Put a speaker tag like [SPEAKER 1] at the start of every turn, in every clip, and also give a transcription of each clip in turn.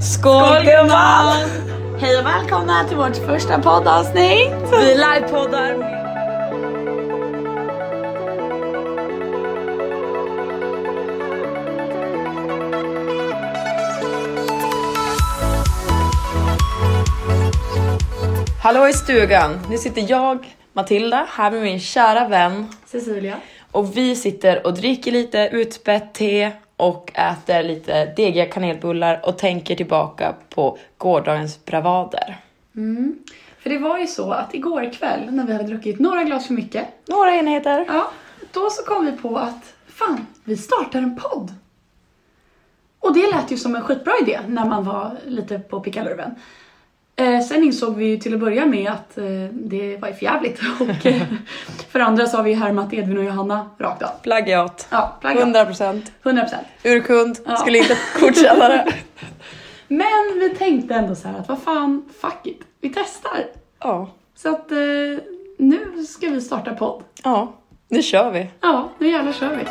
[SPEAKER 1] Skål gumman!
[SPEAKER 2] Hej och välkomna till vårt första poddavsnitt.
[SPEAKER 1] Vi livepoddar med Hallå i stugan! Nu sitter jag, Matilda, här med min kära vän
[SPEAKER 2] Cecilia.
[SPEAKER 1] och vi sitter och dricker lite utspätt te och äter lite degiga kanelbullar och tänker tillbaka på gårdagens bravader.
[SPEAKER 2] För det var ju så att igår kväll när vi hade druckit några glas för mycket,
[SPEAKER 1] Några enheter.
[SPEAKER 2] ja, då så kom vi på att fan, vi startar en podd. Och det lät ju som en skitbra idé när man var lite på pickalurven. Eh, sen insåg vi ju till att börja med att eh, det var ju för jävligt. Och eh, för andra så har vi ju härmat Edvin och Johanna rakt av.
[SPEAKER 1] Plagiat.
[SPEAKER 2] Ja, plagiat.
[SPEAKER 1] 100%.
[SPEAKER 2] 100%.
[SPEAKER 1] Urkund,
[SPEAKER 2] Ja.
[SPEAKER 1] skulle inte godkänna det.
[SPEAKER 2] Men vi tänkte ändå så här att vad fan, fuck it. Vi testar.
[SPEAKER 1] Ja,
[SPEAKER 2] Så att eh, nu ska vi starta podd.
[SPEAKER 1] ja, nu kör vi.
[SPEAKER 2] Ja, nu jävlar kör vi.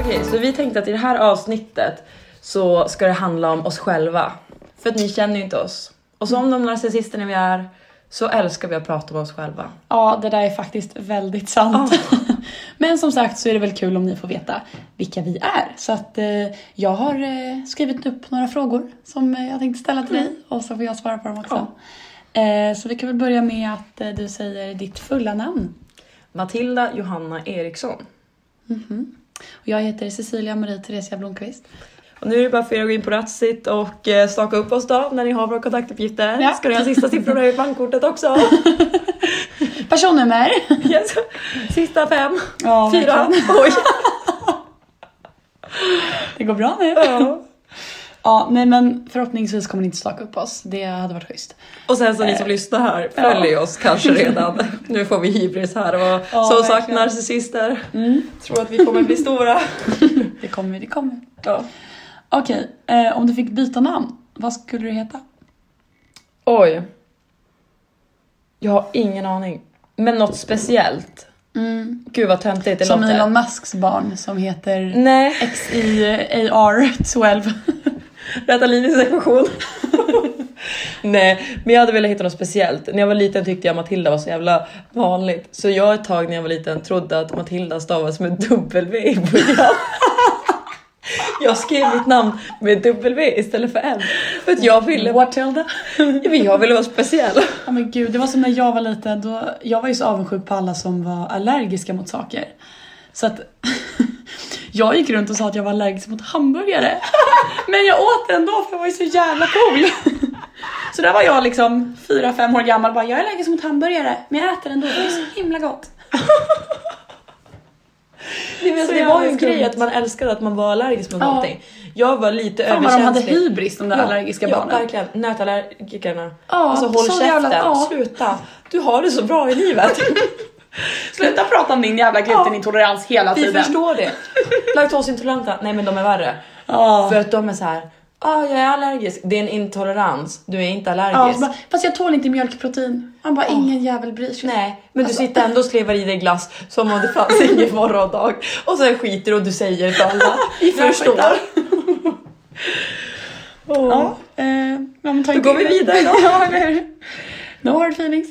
[SPEAKER 1] Okej, så vi tänkte att i det här avsnittet så ska det handla om oss själva. För att ni känner ju inte oss. Och som de narcissisterna vi är så älskar vi att prata om oss själva.
[SPEAKER 2] Ja, det där är faktiskt väldigt sant. Men som sagt så är det väl kul om ni får veta vilka vi är. Så att eh, jag har eh, skrivit upp några frågor som eh, jag tänkte ställa till dig och så får jag svara på dem också. Eh, så vi kan väl börja med att eh, du säger ditt fulla namn.
[SPEAKER 1] Matilda Johanna Eriksson.
[SPEAKER 2] Och jag heter Cecilia Marie Theresia Blomqvist.
[SPEAKER 1] Och nu är det bara för er att gå in på Ratsit och eh, staka upp oss då när ni har våra kontaktuppgifter.
[SPEAKER 2] Ja.
[SPEAKER 1] Ska ni ha sista siffrorna i bankkortet också?
[SPEAKER 2] Personnummer.
[SPEAKER 1] Yes. Sista fem,
[SPEAKER 2] Ja,
[SPEAKER 1] fyra, oj.
[SPEAKER 2] Det går bra nu.
[SPEAKER 1] Ja.
[SPEAKER 2] Ja, nej men förhoppningsvis kommer ni inte staka upp oss. Det hade varit schysst.
[SPEAKER 1] Och sen så ni som lyssnar här, följ oss kanske redan. Nu får vi hybris här och
[SPEAKER 2] Ja,
[SPEAKER 1] som sagt
[SPEAKER 2] verkligen.
[SPEAKER 1] narcissister. Tror att vi kommer bli stora.
[SPEAKER 2] Det kommer, det kommer.
[SPEAKER 1] Ja.
[SPEAKER 2] Okej, eh, om du fick byta namn, vad skulle du heta?
[SPEAKER 1] Oj. Jag har ingen aning. Men något speciellt. Gud vad töntigt det
[SPEAKER 2] Mm. Som
[SPEAKER 1] låter.
[SPEAKER 2] Elon Musks barn som heter
[SPEAKER 1] Nej,
[SPEAKER 2] XIAR12.
[SPEAKER 1] rätta linjens ekvation. Nej, men jag hade velat hitta något speciellt. När jag var liten tyckte jag Matilda var så jävla vanligt. Så jag ett tag när jag var liten trodde att Matilda stavas med W i början. Jag skrev mitt namn med W istället för M. För att jag ville...
[SPEAKER 2] Watilda.
[SPEAKER 1] Ja, men Jag ville vara speciell.
[SPEAKER 2] Ja men gud, det var som när jag var liten. Då, jag var ju så avundsjuk på alla som var allergiska mot saker. Så att jag gick runt och sa att jag var allergisk mot hamburgare. Men jag åt ändå för jag var ju så jävla cool. Så där var jag liksom 4-5 år gammal bara, jag är allergisk mot hamburgare men jag äter ändå för det är så himla gott.
[SPEAKER 1] Det, men, alltså,
[SPEAKER 2] Så
[SPEAKER 1] det
[SPEAKER 2] jävla
[SPEAKER 1] var ju en
[SPEAKER 2] skumt.
[SPEAKER 1] grej att man älskade att man var allergisk mot
[SPEAKER 2] Ja.
[SPEAKER 1] någonting. Jag var lite
[SPEAKER 2] Fan vad de hade
[SPEAKER 1] överkänslig.
[SPEAKER 2] hybris de där allergiska
[SPEAKER 1] ja,
[SPEAKER 2] barnen.
[SPEAKER 1] verkligen. Nötallergikerna.
[SPEAKER 2] Ja,
[SPEAKER 1] alltså håll
[SPEAKER 2] så
[SPEAKER 1] käften,
[SPEAKER 2] jävla- ja.
[SPEAKER 1] sluta. Du har det så bra i livet.
[SPEAKER 2] Sluta prata om din jävla glutenintolerans hela
[SPEAKER 1] Vi
[SPEAKER 2] tiden.
[SPEAKER 1] förstår det. Laktosintoleranta, nej men de är värre.
[SPEAKER 2] Ja.
[SPEAKER 1] För att de är så här. Ja, ah, jag är allergisk. Det är en intolerans. Du är inte
[SPEAKER 2] Ja, så
[SPEAKER 1] allergisk.
[SPEAKER 2] bara, fast jag tål inte mjölkprotein. Man bara, ingen jävel bryr sig.
[SPEAKER 1] Nej, men
[SPEAKER 2] Alltså-
[SPEAKER 1] du sitter ändå och slevar i dig glass som om det fanns ingen morgondag. Och sen skiter du och du säger till alla. Vi
[SPEAKER 2] Jag
[SPEAKER 1] förstår.
[SPEAKER 2] skitar.
[SPEAKER 1] Åh.
[SPEAKER 2] Ja, eh, ja, men ta
[SPEAKER 1] Då går vi vidare då.
[SPEAKER 2] ja, eller hur? No hard feelings.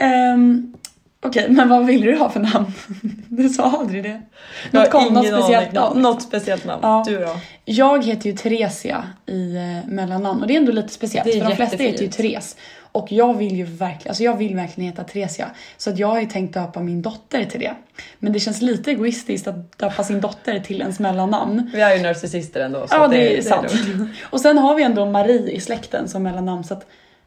[SPEAKER 2] Ehm, Okej, men vad ville du ha för namn? Du sa aldrig det.
[SPEAKER 1] Jag
[SPEAKER 2] Något,
[SPEAKER 1] har
[SPEAKER 2] kom, något
[SPEAKER 1] ingen aning.
[SPEAKER 2] speciellt namn.
[SPEAKER 1] Något speciellt namn.
[SPEAKER 2] Ja.
[SPEAKER 1] Du då?
[SPEAKER 2] Jag heter ju Theresia i eh, mellannamn och det är ändå lite
[SPEAKER 1] Det
[SPEAKER 2] speciellt
[SPEAKER 1] är
[SPEAKER 2] för de flesta
[SPEAKER 1] jättefint.
[SPEAKER 2] heter ju Therese. Och jag vill ju verkligen, alltså jag vill verkligen heta Theresia. Så att jag har ju tänkt döpa min dotter till det. Men det känns lite egoistiskt att döpa sin dotter till ens mellannamn.
[SPEAKER 1] Vi är ju narcissister ändå. Så
[SPEAKER 2] Ja,
[SPEAKER 1] att
[SPEAKER 2] det, är
[SPEAKER 1] det
[SPEAKER 2] sant.
[SPEAKER 1] lugnt.
[SPEAKER 2] och sen har vi ändå Marie i släkten som mellannamn så att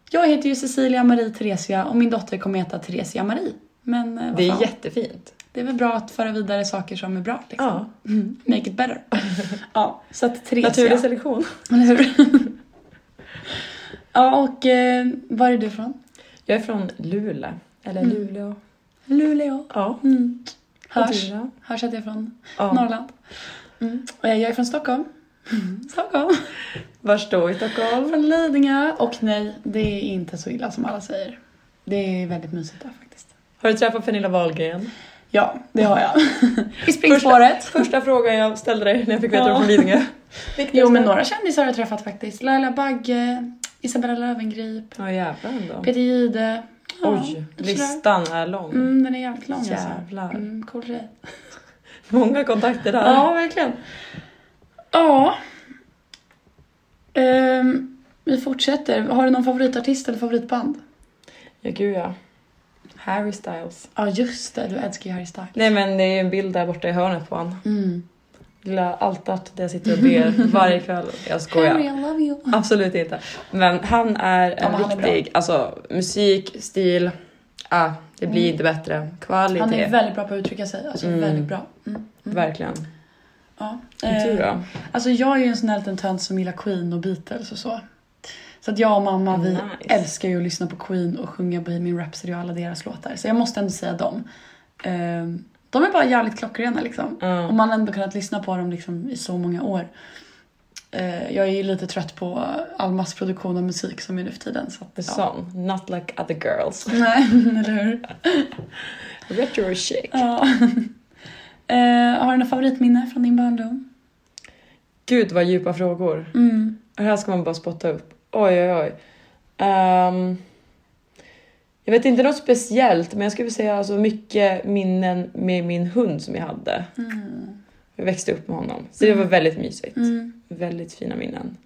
[SPEAKER 2] jag heter ju Cecilia Marie Theresia och min dotter kommer heta Theresia Marie. Men eh, vad
[SPEAKER 1] Det
[SPEAKER 2] fan,
[SPEAKER 1] är jättefint.
[SPEAKER 2] det är väl bra att föra vidare saker som är bra liksom.
[SPEAKER 1] Ja.
[SPEAKER 2] Mm, Make it better. ja, så att Theresia.
[SPEAKER 1] Naturlig selektion.
[SPEAKER 2] Eller hur? ja, och eh, var är du från?
[SPEAKER 1] Jag är från Luleå. Eller
[SPEAKER 2] Mm.
[SPEAKER 1] Luleå.
[SPEAKER 2] Luleå.
[SPEAKER 1] Ja.
[SPEAKER 2] Mm.
[SPEAKER 1] Och
[SPEAKER 2] Hörs.
[SPEAKER 1] du då?
[SPEAKER 2] Hörs att jag är från
[SPEAKER 1] Ja.
[SPEAKER 2] Norrland. Mm. Och jag jag är från Stockholm. Stockholm.
[SPEAKER 1] Var står i Stockholm?
[SPEAKER 2] Från Lidingö. Och nej, det är inte så illa som alla säger. Det är väldigt mysigt där faktiskt.
[SPEAKER 1] Har du träffat Pernilla Wahlgren?
[SPEAKER 2] Ja, det har jag. I springspåret.
[SPEAKER 1] Första frågan jag ställde dig när jag fick veta
[SPEAKER 2] Ja.
[SPEAKER 1] ja. från Lidingö.
[SPEAKER 2] Jo, men några kändisar har jag träffat faktiskt. Laila Bagge, Isabella Löwengrip,
[SPEAKER 1] Ja jävlar ändå.
[SPEAKER 2] Peter Jihde. Ja,
[SPEAKER 1] Oj,
[SPEAKER 2] sådär.
[SPEAKER 1] listan är lång.
[SPEAKER 2] Mm, den är jävligt lång
[SPEAKER 1] Jävlar.
[SPEAKER 2] alltså. Mm, cool tjej.
[SPEAKER 1] Många kontakter där.
[SPEAKER 2] Ja, verkligen. Ja. Ehm, vi fortsätter. Har du någon favoritartist eller favoritband?
[SPEAKER 1] ja gud ja. Harry Styles.
[SPEAKER 2] Ja, just det. Du älskar ju Harry Styles.
[SPEAKER 1] Nej men det är ju en bild där borta i hörnet på honom.
[SPEAKER 2] Mm.
[SPEAKER 1] Lilla altaret där jag sitter och ber varje kväll. Jag skojar.
[SPEAKER 2] Harry, I love you.
[SPEAKER 1] Absolut inte. Men han är
[SPEAKER 2] Ja,
[SPEAKER 1] en
[SPEAKER 2] men han är bra.
[SPEAKER 1] riktig, alltså musik, stil, ah, det blir inte bättre. Kvalitet.
[SPEAKER 2] Mm. Han är väldigt bra på att uttrycka sig. Alltså
[SPEAKER 1] Mm.
[SPEAKER 2] väldigt bra. Mm.
[SPEAKER 1] Verkligen.
[SPEAKER 2] Ja.
[SPEAKER 1] Du
[SPEAKER 2] Eh,
[SPEAKER 1] då?
[SPEAKER 2] alltså jag är ju en sån här liten tönt som gillar Queen och Beatles och så. Så att jag och mamma vi
[SPEAKER 1] Nice.
[SPEAKER 2] älskar ju att lyssna på Queen och sjunga Bohemian Rhapsody och alla deras låtar. Så jag måste ändå säga dem. Ehm, de är bara jävligt klockrena liksom.
[SPEAKER 1] Ja.
[SPEAKER 2] Och man har ändå kunnat lyssna på dem liksom i så många år. Eh, jag är ju lite trött på all massproduktion av musik som är nu för tiden. Så att,
[SPEAKER 1] En sån. Not like other girls.
[SPEAKER 2] Nej, eller hur?
[SPEAKER 1] Retro chic.
[SPEAKER 2] Ja. Eh, har du något favoritminne från din barndom?
[SPEAKER 1] Gud vad djupa frågor.
[SPEAKER 2] Mm.
[SPEAKER 1] Det här ska man bara spotta upp. Oj, oj, oj. Ehm, jag vet inte något speciellt, men jag skulle säga alltså mycket minnen med min hund som jag hade.
[SPEAKER 2] Mm.
[SPEAKER 1] Jag växte upp med honom, så det var väldigt mysigt.
[SPEAKER 2] Mm.
[SPEAKER 1] Väldigt fina minnen.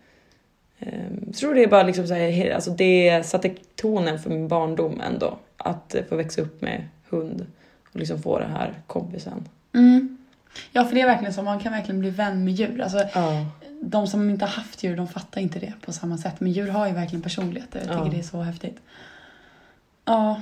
[SPEAKER 1] Ehm, Jag tror det är bara liksom så här, he- alltså det satte tonen för min barndom ändå. Att eh, få växa upp med hund och liksom få den här kompisen.
[SPEAKER 2] Mm. Ja, för det är verkligen så. Man kan verkligen bli vän med djur. Alltså, de som inte har haft djur, de fattar inte det på samma sätt. Men djur har ju verkligen personligheter. Jag tycker
[SPEAKER 1] Ja.
[SPEAKER 2] det är så häftigt. Ja.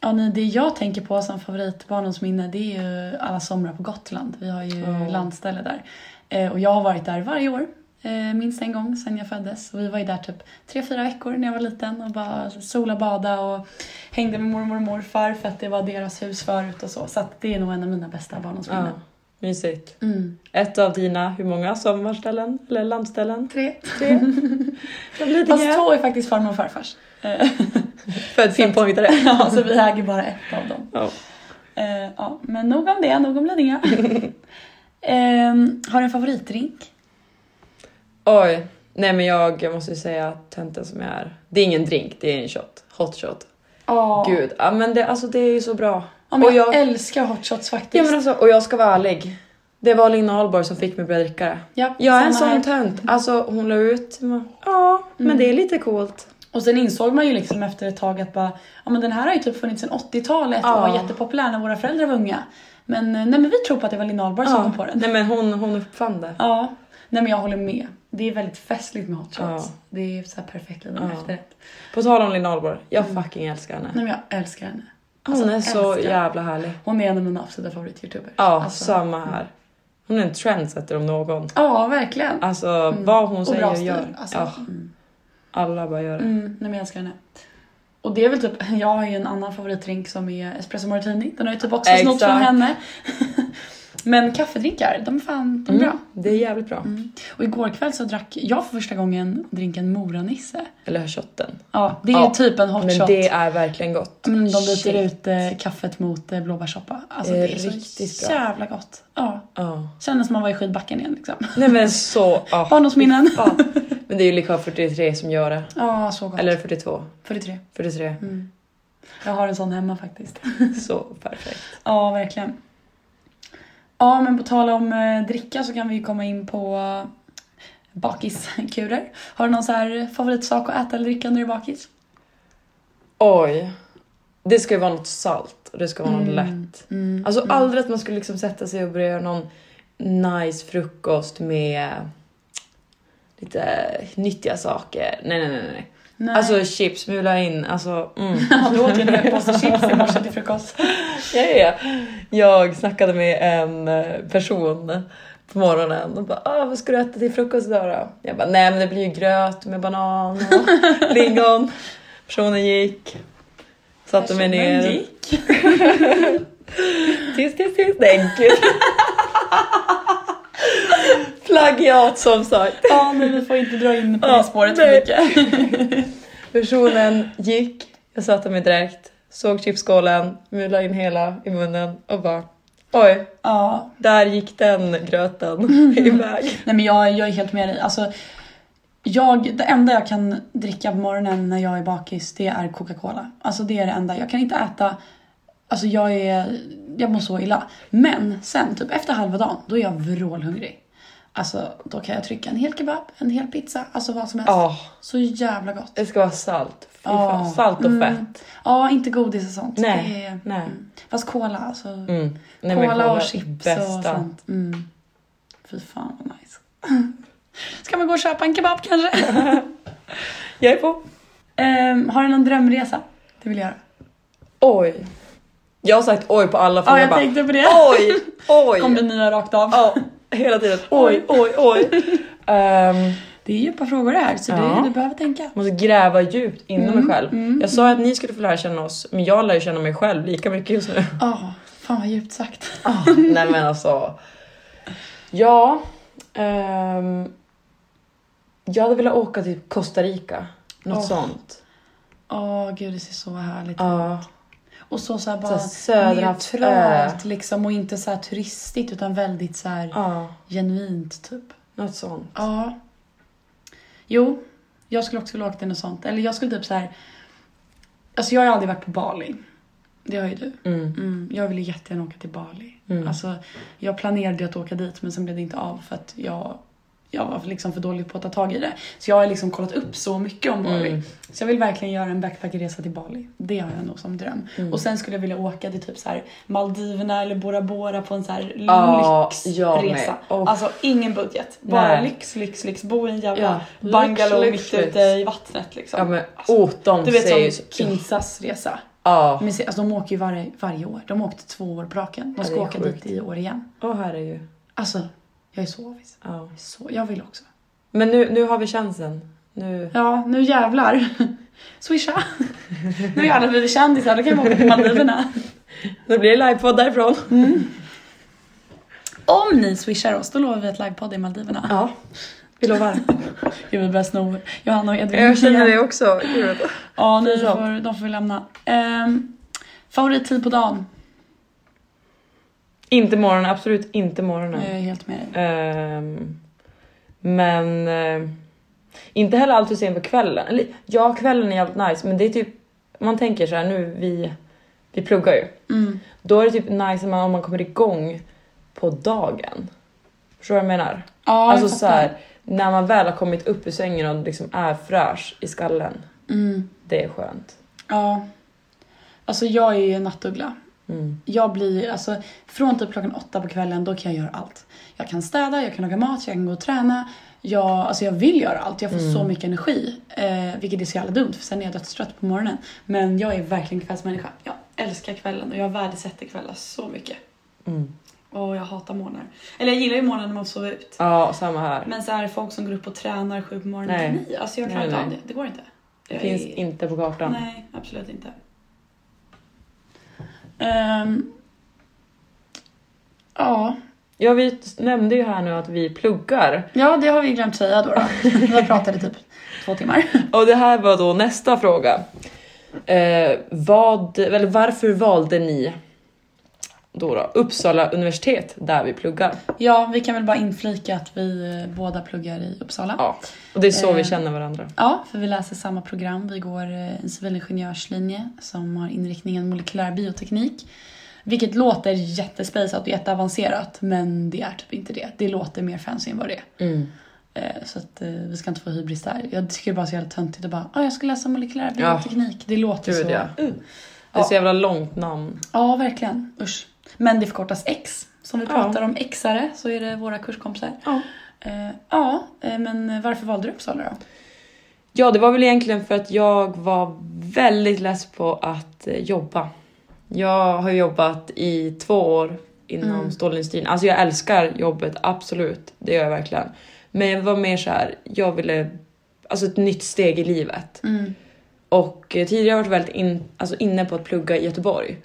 [SPEAKER 2] Ja, nej, det jag tänker på som favorit barndomsminne det är ju alla somrar på Gotland. Vi har ju
[SPEAKER 1] Ja.
[SPEAKER 2] landställe där. Eh, och jag har varit där varje år. Eh, minst en gång sedan jag föddes. Och vi var ju där typ tre, fyra veckor när jag var liten och bara sola, bada och hängde med mormor och morfar för att det var deras hus förut och så. Så att det är nog en av mina bästa
[SPEAKER 1] Ja,
[SPEAKER 2] barndomsminnen.
[SPEAKER 1] mysigt.
[SPEAKER 2] Mm.
[SPEAKER 1] Ett av dina, hur många sommarställen? Eller landställen?
[SPEAKER 2] Tre.
[SPEAKER 1] Tre? Från
[SPEAKER 2] Fast
[SPEAKER 1] Lidingö?
[SPEAKER 2] två är faktiskt farmor och farfars. Eh,
[SPEAKER 1] Född pinpointare.
[SPEAKER 2] Ja, så vi äger bara ett av dem.
[SPEAKER 1] Ja.
[SPEAKER 2] Eh, ja, men nog om det, nog om Lidingö. Ehm, har du en favoritdrink?
[SPEAKER 1] Oj. Nej men jag, jag måste ju säga tönten som jag är. Det är ingen drink, det är en shot. Hot shot.
[SPEAKER 2] Ja.
[SPEAKER 1] Gud, ja, men det, alltså, det är ju så bra.
[SPEAKER 2] Ja, men
[SPEAKER 1] Och
[SPEAKER 2] jag,
[SPEAKER 1] jag-
[SPEAKER 2] älskar hot shots faktiskt.
[SPEAKER 1] Ja, men alltså, och jag ska vara ärlig. Det var Lina Ahlborg som fick mig att börja dricka det.
[SPEAKER 2] Ja,
[SPEAKER 1] Jag är en
[SPEAKER 2] samma
[SPEAKER 1] sån
[SPEAKER 2] här. Mm.
[SPEAKER 1] tönt. Alltså hon la ut, ja men det är lite coolt.
[SPEAKER 2] Och sen insåg man ju liksom efter ett tag att bara, ja men den här har ju typ funnits sedan 80-talet och
[SPEAKER 1] Ja.
[SPEAKER 2] var jättepopulär när våra föräldrar var unga. Men eh, nej men vi tror på att det var Linn Ahlborg som
[SPEAKER 1] Ja.
[SPEAKER 2] kom på den.
[SPEAKER 1] Nej men hon, hon uppfann det.
[SPEAKER 2] Ja. Nej men jag håller med. Det är väldigt festligt med hot shots.
[SPEAKER 1] Ja.
[SPEAKER 2] Det är så här perfekt liten
[SPEAKER 1] Ja.
[SPEAKER 2] efterrätt.
[SPEAKER 1] På tal om Lina Ahlborg, jag fucking älskar henne.
[SPEAKER 2] Nej men jag älskar henne.
[SPEAKER 1] Hon är så
[SPEAKER 2] Mm. Alltså, älskar.
[SPEAKER 1] jävla härlig.
[SPEAKER 2] Hon är en av mina absoluta favorit-youtubers.
[SPEAKER 1] Ja,
[SPEAKER 2] Alltså,
[SPEAKER 1] samma här. Hon är en trendsetter om någon.
[SPEAKER 2] Ja, verkligen.
[SPEAKER 1] Alltså vad hon
[SPEAKER 2] Mm. och
[SPEAKER 1] säger
[SPEAKER 2] bra
[SPEAKER 1] och
[SPEAKER 2] stil.
[SPEAKER 1] gör.
[SPEAKER 2] Alltså,
[SPEAKER 1] Ja,
[SPEAKER 2] mm.
[SPEAKER 1] alla bara gör det.
[SPEAKER 2] Mm, nej, men jag älskar henne. Och det är väl typ, jag har ju en annan favoritdrink som är espresso martini. Den har ju typ också
[SPEAKER 1] Exakt.
[SPEAKER 2] snott från henne. men kaffedrinkar, de är fan de är Mm. bra.
[SPEAKER 1] Mm.
[SPEAKER 2] Mm.
[SPEAKER 1] Det är jävligt bra.
[SPEAKER 2] Och igår kväll så drack jag för första gången drinken Moranisse.
[SPEAKER 1] Eller shotten.
[SPEAKER 2] Ja, det är
[SPEAKER 1] Ja,
[SPEAKER 2] typ en hot
[SPEAKER 1] Men
[SPEAKER 2] shot.
[SPEAKER 1] det är verkligen gott.
[SPEAKER 2] Mm, de byter
[SPEAKER 1] Shit.
[SPEAKER 2] ut eh, kaffet mot eh, blåbärssoppa. Alltså det
[SPEAKER 1] Det
[SPEAKER 2] är,
[SPEAKER 1] är
[SPEAKER 2] så
[SPEAKER 1] riktigt bra.
[SPEAKER 2] jävla gott. Ja,
[SPEAKER 1] Ja.
[SPEAKER 2] kändes som man var i skidbacken igen liksom.
[SPEAKER 1] Nej men så... ja.
[SPEAKER 2] Barndomsminnen.
[SPEAKER 1] Fan. Men det är ju likör 43 som gör det.
[SPEAKER 2] Ja, så gott.
[SPEAKER 1] Eller 42.
[SPEAKER 2] 43.
[SPEAKER 1] 43.
[SPEAKER 2] Mm. Jag har en sån hemma faktiskt.
[SPEAKER 1] Så perfekt.
[SPEAKER 2] Ja, verkligen. Ja, men på tal om eh, dricka så kan vi ju komma in på eh, bakiskurer. Har du någon så här favoritsak att äta eller dricka när du är bakis?
[SPEAKER 1] Oj. Det ska ju vara något salt och det ska vara något lätt.
[SPEAKER 2] Mm.
[SPEAKER 1] Alltså aldrig att man skulle liksom sätta sig och börja göra någon nice frukost med lite nyttiga saker. Nej, nej, nej. nej.
[SPEAKER 2] Nej.
[SPEAKER 1] Alltså chips, mula in. Alltså, mm.
[SPEAKER 2] Ja, du åt ju en hel påse chips i morse till frukost.
[SPEAKER 1] Ja, ja, ja. Jag snackade med en eh, person på morgonen och bara ah, “Vad ska du äta till frukost idag då?” Jag bara “Nej men det blir ju gröt med banan och lingon”. Personen gick. Satte mig
[SPEAKER 2] Personen
[SPEAKER 1] ner.
[SPEAKER 2] gick.
[SPEAKER 1] Tyst, tyst, tyst. Nej gud. Plagiat som sagt.
[SPEAKER 2] Ja, men vi får inte dra in på det
[SPEAKER 1] Ja,
[SPEAKER 2] spåret för
[SPEAKER 1] nej.
[SPEAKER 2] mycket.
[SPEAKER 1] Personen gick, jag satte mig direkt, såg chipsskålen, mulade in hela i munnen och bara oj,
[SPEAKER 2] Ja,
[SPEAKER 1] där gick den gröten iväg.
[SPEAKER 2] Nej men jag, jag är helt med dig. Alltså, jag, det enda jag kan dricka på morgonen när jag är bakis, det är Coca-Cola. Alltså det är det enda. Jag kan inte äta, alltså jag är, jag mår så illa. Men sen, typ efter halva dagen, då är jag vrålhungrig. Alltså då kan jag trycka en hel kebab, en hel pizza, alltså vad som helst.
[SPEAKER 1] Ja,
[SPEAKER 2] Så jävla gott.
[SPEAKER 1] det ska vara salt. Fy fan.
[SPEAKER 2] Ja.
[SPEAKER 1] Salt och
[SPEAKER 2] Mm.
[SPEAKER 1] fett.
[SPEAKER 2] Ja, inte godis och sånt.
[SPEAKER 1] Nej,
[SPEAKER 2] Det är,
[SPEAKER 1] nej.
[SPEAKER 2] Mm. Fast cola, alltså.
[SPEAKER 1] Mm. Nej, men
[SPEAKER 2] cola,
[SPEAKER 1] kolla,
[SPEAKER 2] och chips och
[SPEAKER 1] bästa.
[SPEAKER 2] sånt. Mm. Fy fan vad nice. Ska man gå och köpa en kebab kanske?
[SPEAKER 1] Jag är på.
[SPEAKER 2] Ehm, har du någon drömresa? Det vill jag göra.
[SPEAKER 1] Oj. Jag har sagt oj på alla
[SPEAKER 2] Ja,
[SPEAKER 1] frågor.
[SPEAKER 2] jag
[SPEAKER 1] bara,
[SPEAKER 2] tänkte på det.
[SPEAKER 1] Oj, oj.
[SPEAKER 2] Kombinera rakt av.
[SPEAKER 1] Ja, hela tiden. Oj, oj, oj. Ehm,
[SPEAKER 2] Det är djupa frågor det här, så
[SPEAKER 1] Ja. Mm.
[SPEAKER 2] det, du behöver tänka.
[SPEAKER 1] måste gräva djupt inom
[SPEAKER 2] Mm,
[SPEAKER 1] mig själv. Jag sa att ni skulle få lära känna oss, men jag lär ju känna mig själv lika mycket just nu.
[SPEAKER 2] Ja, fan vad djupt sagt.
[SPEAKER 1] Ah, nej men alltså. Ja. ehm, jag hade velat åka till Costa Rica. Något
[SPEAKER 2] Åh.
[SPEAKER 1] sånt.
[SPEAKER 2] Åh gud, det ser så härligt
[SPEAKER 1] Ja.
[SPEAKER 2] Och så, så här
[SPEAKER 1] Så
[SPEAKER 2] bara
[SPEAKER 1] här söderhavs-
[SPEAKER 2] neutralt liksom och inte så här turistigt utan väldigt så här
[SPEAKER 1] ja,
[SPEAKER 2] genuint typ.
[SPEAKER 1] något sånt.
[SPEAKER 2] Ja. Jo, jag skulle också vilja åka till något sånt. Eller jag skulle typ så här. Alltså jag har ju aldrig varit på Bali. Det har ju du.
[SPEAKER 1] Mm.
[SPEAKER 2] Mm, jag ville jättegärna åka till Bali.
[SPEAKER 1] Mm.
[SPEAKER 2] Alltså, jag planerade ju att åka dit men sen blev det inte av för att jag, jag var liksom för dålig på att ta tag i det. Så jag har liksom kollat upp så mycket om Bali.
[SPEAKER 1] Mm.
[SPEAKER 2] Så jag vill verkligen göra en backpackerresa till Bali. Det har jag nog som dröm.
[SPEAKER 1] Mm.
[SPEAKER 2] Och sen skulle jag vilja åka till typ så här Maldiverna eller Bora Bora på en så här
[SPEAKER 1] Ja, jag med.
[SPEAKER 2] lyxresa.
[SPEAKER 1] Oh.
[SPEAKER 2] Alltså ingen budget. Bara
[SPEAKER 1] Nej.
[SPEAKER 2] lyx, lyx, lyx. Bo i en jävla
[SPEAKER 1] Ja,
[SPEAKER 2] bungalow
[SPEAKER 1] lyx,
[SPEAKER 2] mitt
[SPEAKER 1] lyx,
[SPEAKER 2] ute
[SPEAKER 1] lyx.
[SPEAKER 2] i vattnet liksom.
[SPEAKER 1] Ja men åh, de
[SPEAKER 2] du vet
[SPEAKER 1] säger ju
[SPEAKER 2] som
[SPEAKER 1] så-
[SPEAKER 2] Kinzas resa.
[SPEAKER 1] Ja.
[SPEAKER 2] Men se, alltså de åker ju varje, varje år. De har åkt två år på raken. De
[SPEAKER 1] Ja,
[SPEAKER 2] ska
[SPEAKER 1] det är
[SPEAKER 2] åka
[SPEAKER 1] sjukt.
[SPEAKER 2] dit i år igen.
[SPEAKER 1] Åh herregud.
[SPEAKER 2] Alltså, jag är så avis.
[SPEAKER 1] Ja.
[SPEAKER 2] Jag är Så, jag vill också.
[SPEAKER 1] Men nu, nu har vi chansen. Nu.
[SPEAKER 2] Ja, nu jävlar. Swisha! Nu har alla blivit kändisar, då kan vi åka till Maldiverna.
[SPEAKER 1] Nu blir det livepodd därifrån.
[SPEAKER 2] Om ni swishar oss, då lovar vi ett livepodd i Maldiverna.
[SPEAKER 1] Ja, vi lovar.
[SPEAKER 2] Gud, vi börjar sno Johanna och Edvin.
[SPEAKER 1] Jag känner
[SPEAKER 2] igen.
[SPEAKER 1] det också. Gud.
[SPEAKER 2] Ja, ni
[SPEAKER 1] Pinsamt.
[SPEAKER 2] får, de får vi lämna. Um, favorittid på dagen?
[SPEAKER 1] Inte morgonen, absolut inte morgonen.
[SPEAKER 2] Jag är helt med dig.
[SPEAKER 1] Ehm, men eh, inte heller alltid sent på kvällen. Eller, ja, kvällen är jävligt nice, men det är typ man tänker så här nu vi vi pluggar ju.
[SPEAKER 2] Mm.
[SPEAKER 1] Då är det typ nice om man, om man kommer igång på dagen. Förstår du vad jag menar?
[SPEAKER 2] Ja, jag
[SPEAKER 1] alltså så
[SPEAKER 2] fattar.
[SPEAKER 1] här, när man väl har kommit upp ur sängen och liksom är fräsch i skallen.
[SPEAKER 2] Mm.
[SPEAKER 1] Det är skönt.
[SPEAKER 2] Ja. Alltså jag är ju en nattuggla.
[SPEAKER 1] Mm.
[SPEAKER 2] Jag blir, alltså från typ klockan åtta på kvällen, då kan jag göra allt. Jag kan städa, jag kan laga mat, jag kan gå och träna. Jag, alltså jag vill göra allt, jag får
[SPEAKER 1] Mm.
[SPEAKER 2] så mycket energi. Eh, vilket är så jävla dumt för sen är jag dödstrött på morgonen. Men jag är verkligen kvällsmänniska. Jag älskar kvällen och jag värdesätter kvällar så mycket.
[SPEAKER 1] Mm.
[SPEAKER 2] Och jag hatar morgnar. Eller jag gillar ju morgnar när man får sova ut.
[SPEAKER 1] Ja, samma här.
[SPEAKER 2] Men så här folk som går upp och tränar sju på morgonen.
[SPEAKER 1] Nej.
[SPEAKER 2] Nej. alltså jag klarar
[SPEAKER 1] Nej,
[SPEAKER 2] inte av
[SPEAKER 1] nej.
[SPEAKER 2] det. Det går inte.
[SPEAKER 1] Det
[SPEAKER 2] Jag
[SPEAKER 1] finns
[SPEAKER 2] är-
[SPEAKER 1] inte på kartan.
[SPEAKER 2] Nej, absolut inte. Ehm, ja.
[SPEAKER 1] Ja, vi nämnde ju här nu att vi pluggar.
[SPEAKER 2] ja, det har vi glömt säga då. då. Vi pratade typ två timmar.
[SPEAKER 1] Och det här var då nästa fråga. Eh, vad, eller varför valde ni då då, Uppsala universitet där vi pluggar?
[SPEAKER 2] Ja, vi kan väl bara inflika att vi eh, båda pluggar i Uppsala.
[SPEAKER 1] Ja, och det är så vi
[SPEAKER 2] Eh.
[SPEAKER 1] känner varandra.
[SPEAKER 2] Ja, för vi läser samma program. Vi går eh, en civilingenjörslinje som har inriktningen molekylär bioteknik. Vilket låter jättespejsat och jätteavancerat, men det är typ inte det. Det låter mer fancy än vad det är. Eh, Så att eh, vi ska inte få hybris där. Jag tycker det bara är så jävla töntigt att bara ah, jag ska läsa molekylär
[SPEAKER 1] Ja.
[SPEAKER 2] bioteknik. Det låter
[SPEAKER 1] Gud
[SPEAKER 2] så.
[SPEAKER 1] ja.
[SPEAKER 2] Mm. Ja.
[SPEAKER 1] Det är så jävla långt namn.
[SPEAKER 2] verkligen. Usch. Men det förkortas X. Som vi
[SPEAKER 1] Ja.
[SPEAKER 2] pratar om Xare så är det våra kurskompisar.
[SPEAKER 1] Ja.
[SPEAKER 2] Eh, ja, eh, men varför valde du Uppsala då?
[SPEAKER 1] ja, det var väl egentligen för att jag var väldigt less på att eh, jobba. Jag har jobbat i två år inom stålindustrin. Alltså jag älskar jobbet, absolut. Det gör jag verkligen. Men jag var mer så här, jag ville, alltså ett nytt steg i livet.
[SPEAKER 2] Mm.
[SPEAKER 1] Och eh, tidigare har jag varit väldigt in, alltså inne på att plugga i Göteborg.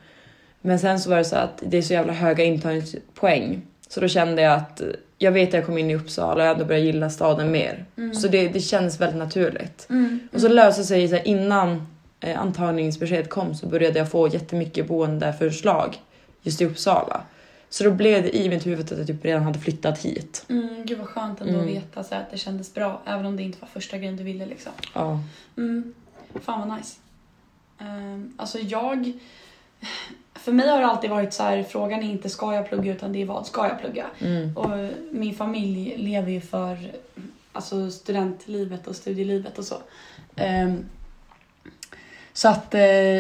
[SPEAKER 1] Men sen så var det så att det är så jävla höga intagningspoäng. Så då kände jag att eh, jag vet att jag kom in i Uppsala och jag ändå börjar gilla staden mer.
[SPEAKER 2] Mm.
[SPEAKER 1] Så det, det känns väldigt naturligt. Och så löser sig så här, innan eh, antagningsbesked kom så började jag få jättemycket boendeförslag just i Uppsala. Så då blev det i mitt huvud att jag typ redan hade flyttat hit.
[SPEAKER 3] Mm, gud vad skönt ändå att veta så här, att det kändes bra även om det inte var första grejen du ville liksom.
[SPEAKER 1] Ja.
[SPEAKER 3] Mm. Fan vad nice. Um, alltså jag... För mig har det alltid varit så här, frågan är inte ska jag plugga utan det är vad ska jag plugga?
[SPEAKER 1] Mm.
[SPEAKER 3] Och min familj lever ju för alltså, studentlivet och studielivet och så. Ehm,
[SPEAKER 2] Så att eh,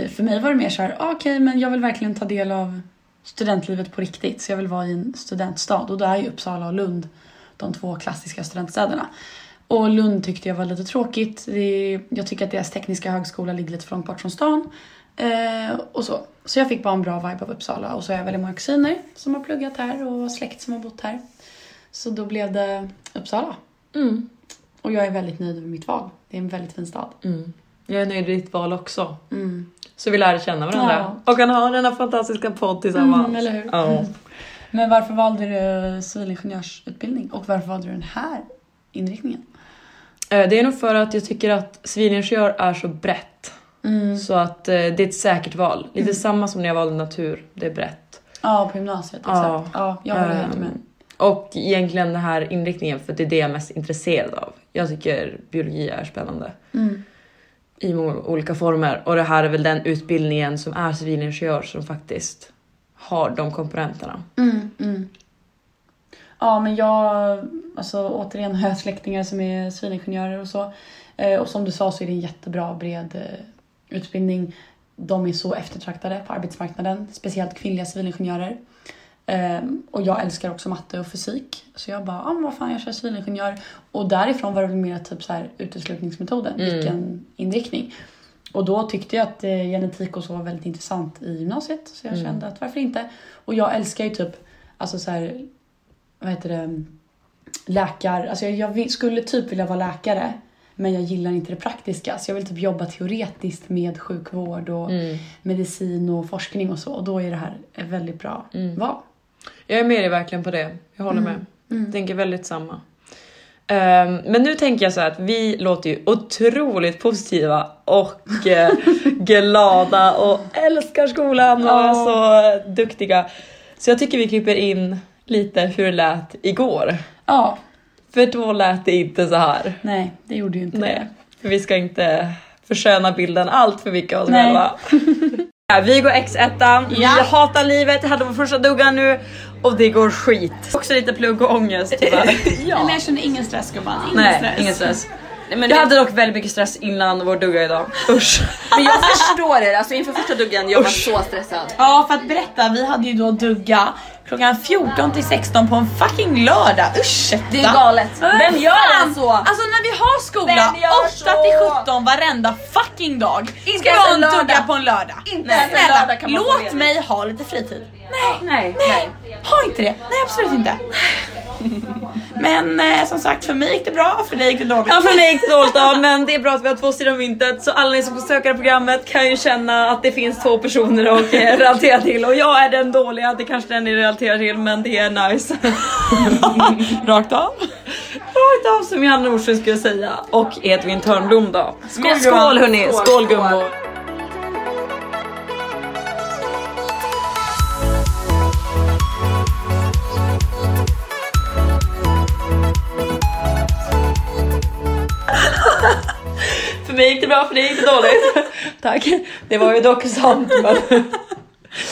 [SPEAKER 2] för mig var det mer så här, ah, okej men jag vill verkligen ta del av studentlivet på riktigt. Så jag vill vara i en studentstad och då är ju Uppsala och Lund de två klassiska studentstäderna. Och Lund tyckte jag var lite tråkigt. Det, jag tycker att deras tekniska högskola ligger lite för långt bort från stan. Eh, och så. så jag fick bara en bra vibe av Uppsala och så har jag väldigt många kusiner som har pluggat här och släkt som har bott här. Så då blev det Uppsala.
[SPEAKER 1] Mm.
[SPEAKER 2] Och jag är väldigt nöjd med mitt val. Det är en väldigt fin stad.
[SPEAKER 1] Mm. Jag är nöjd med ditt val också.
[SPEAKER 2] Mm.
[SPEAKER 1] Så vi lär känna varandra och kan ha denna fantastiska podd tillsammans.
[SPEAKER 2] Mm, eller hur?
[SPEAKER 1] Ja.
[SPEAKER 2] Men varför valde du civilingenjörsutbildning och varför valde du den här inriktningen?
[SPEAKER 1] Eh, Det är nog för att jag tycker att civilingenjör är så brett.
[SPEAKER 2] Mm.
[SPEAKER 1] Så att eh, det är ett säkert val. Lite samma som när jag valde natur, det är brett.
[SPEAKER 2] Ja, på gymnasiet.
[SPEAKER 1] Ja.
[SPEAKER 2] Exakt. Ja, jag håller helt
[SPEAKER 1] Ehm,
[SPEAKER 2] med.
[SPEAKER 1] Och egentligen den här inriktningen för det är det jag är mest intresserad av. Jag tycker biologi är spännande
[SPEAKER 2] Mm.
[SPEAKER 1] i många olika former och det här är väl den utbildningen som är civilingenjör som faktiskt har de komponenterna.
[SPEAKER 2] Mm, mm. Ja, men jag, alltså återigen har jag släktingar som är civilingenjörer och så. Eh, och som du sa så är det en jättebra bred eh, utbildning. De är så eftertraktade på arbetsmarknaden, speciellt kvinnliga civilingenjörer. Eh, och jag älskar också matte och fysik. Så jag bara, ah, men vad fan jag kör civilingenjör. Och därifrån var det väl mer typ så här uteslutningsmetoden,
[SPEAKER 1] Mm.
[SPEAKER 2] vilken inriktning. Och då tyckte jag att eh, genetik och så var väldigt intressant i gymnasiet. Så jag
[SPEAKER 1] Mm.
[SPEAKER 2] kände att varför inte? Och jag älskar ju typ, alltså så här, vad heter det, läkar... Alltså jag, jag vill- skulle typ vilja vara läkare. Men jag gillar inte det praktiska. Så jag vill typ jobba teoretiskt med sjukvård och
[SPEAKER 1] Mm.
[SPEAKER 2] medicin och forskning och så. Och då är det här ett väldigt bra
[SPEAKER 1] Mm.
[SPEAKER 2] val.
[SPEAKER 1] Jag är med dig verkligen på det. Jag håller med.
[SPEAKER 2] Mm.
[SPEAKER 1] Tänker väldigt samma. Ehm, men nu tänker jag så här att vi låter ju otroligt positiva och eh, glada och älskar skolan och är
[SPEAKER 2] Ja.
[SPEAKER 1] så eh, duktiga. Så jag tycker vi klipper in lite hur det lät igår.
[SPEAKER 2] Ja,
[SPEAKER 1] För då lät det inte så här.
[SPEAKER 2] nej, det gjorde ju inte
[SPEAKER 1] Nej, för vi ska inte försköna bilden allt för mycket av oss
[SPEAKER 2] Nej.
[SPEAKER 1] själva. Ja, vi går X1, vi
[SPEAKER 2] Ja.
[SPEAKER 1] hatar livet, jag hade vår första dugga nu och det går skit. Också lite plugg och ångest tyvärr.
[SPEAKER 3] Men jag känner ingen stress gumman. Ingen
[SPEAKER 1] Nej,
[SPEAKER 3] stress.
[SPEAKER 1] ingen stress. jag hade dock väldigt mycket stress innan vår dugga idag. Usch.
[SPEAKER 4] Men jag förstår er, alltså inför första duggen jag var så stressad.
[SPEAKER 3] Ja, för att berätta, vi hade ju då dugga klockan 14 till 16 på en fucking lördag. Ursäkta.
[SPEAKER 4] Det är galet. Vem gör det så?
[SPEAKER 3] Alltså när vi har skola
[SPEAKER 4] Vem gör
[SPEAKER 3] 8
[SPEAKER 4] så?
[SPEAKER 3] till 17 varenda fucking dag. Ska jag
[SPEAKER 4] ens
[SPEAKER 3] ha
[SPEAKER 4] en
[SPEAKER 3] en dugga
[SPEAKER 4] lördag.
[SPEAKER 3] på en lördag?
[SPEAKER 4] Inte ens en
[SPEAKER 3] Snälla,
[SPEAKER 4] lördag kan man få
[SPEAKER 3] låt
[SPEAKER 4] ledigt.
[SPEAKER 3] mig ha lite fritid.
[SPEAKER 4] Nej, nej.
[SPEAKER 3] Ha inte det. Nej absolut inte. Men eh, som sagt för mig gick det bra, för dig gick det dåligt.
[SPEAKER 1] Ja för mig gick det dåligt då, men det är bra att vi har två sidor av myntet så alla ni som söker programmet kan ju känna att det finns två personer att eh, relatera till och jag är den dåliga, det kanske den ni relaterar till men det är nice.
[SPEAKER 3] Rakt av.
[SPEAKER 1] Rakt av som Johanna Nordström skulle säga och Edvin Törnblom då. Skål,
[SPEAKER 4] gumman.
[SPEAKER 1] skål hörni,
[SPEAKER 4] Skål,
[SPEAKER 1] skål gummor.
[SPEAKER 4] skål.
[SPEAKER 1] För mig gick det bra, för dig gick det dåligt. Tack. Det var ju dock sant men,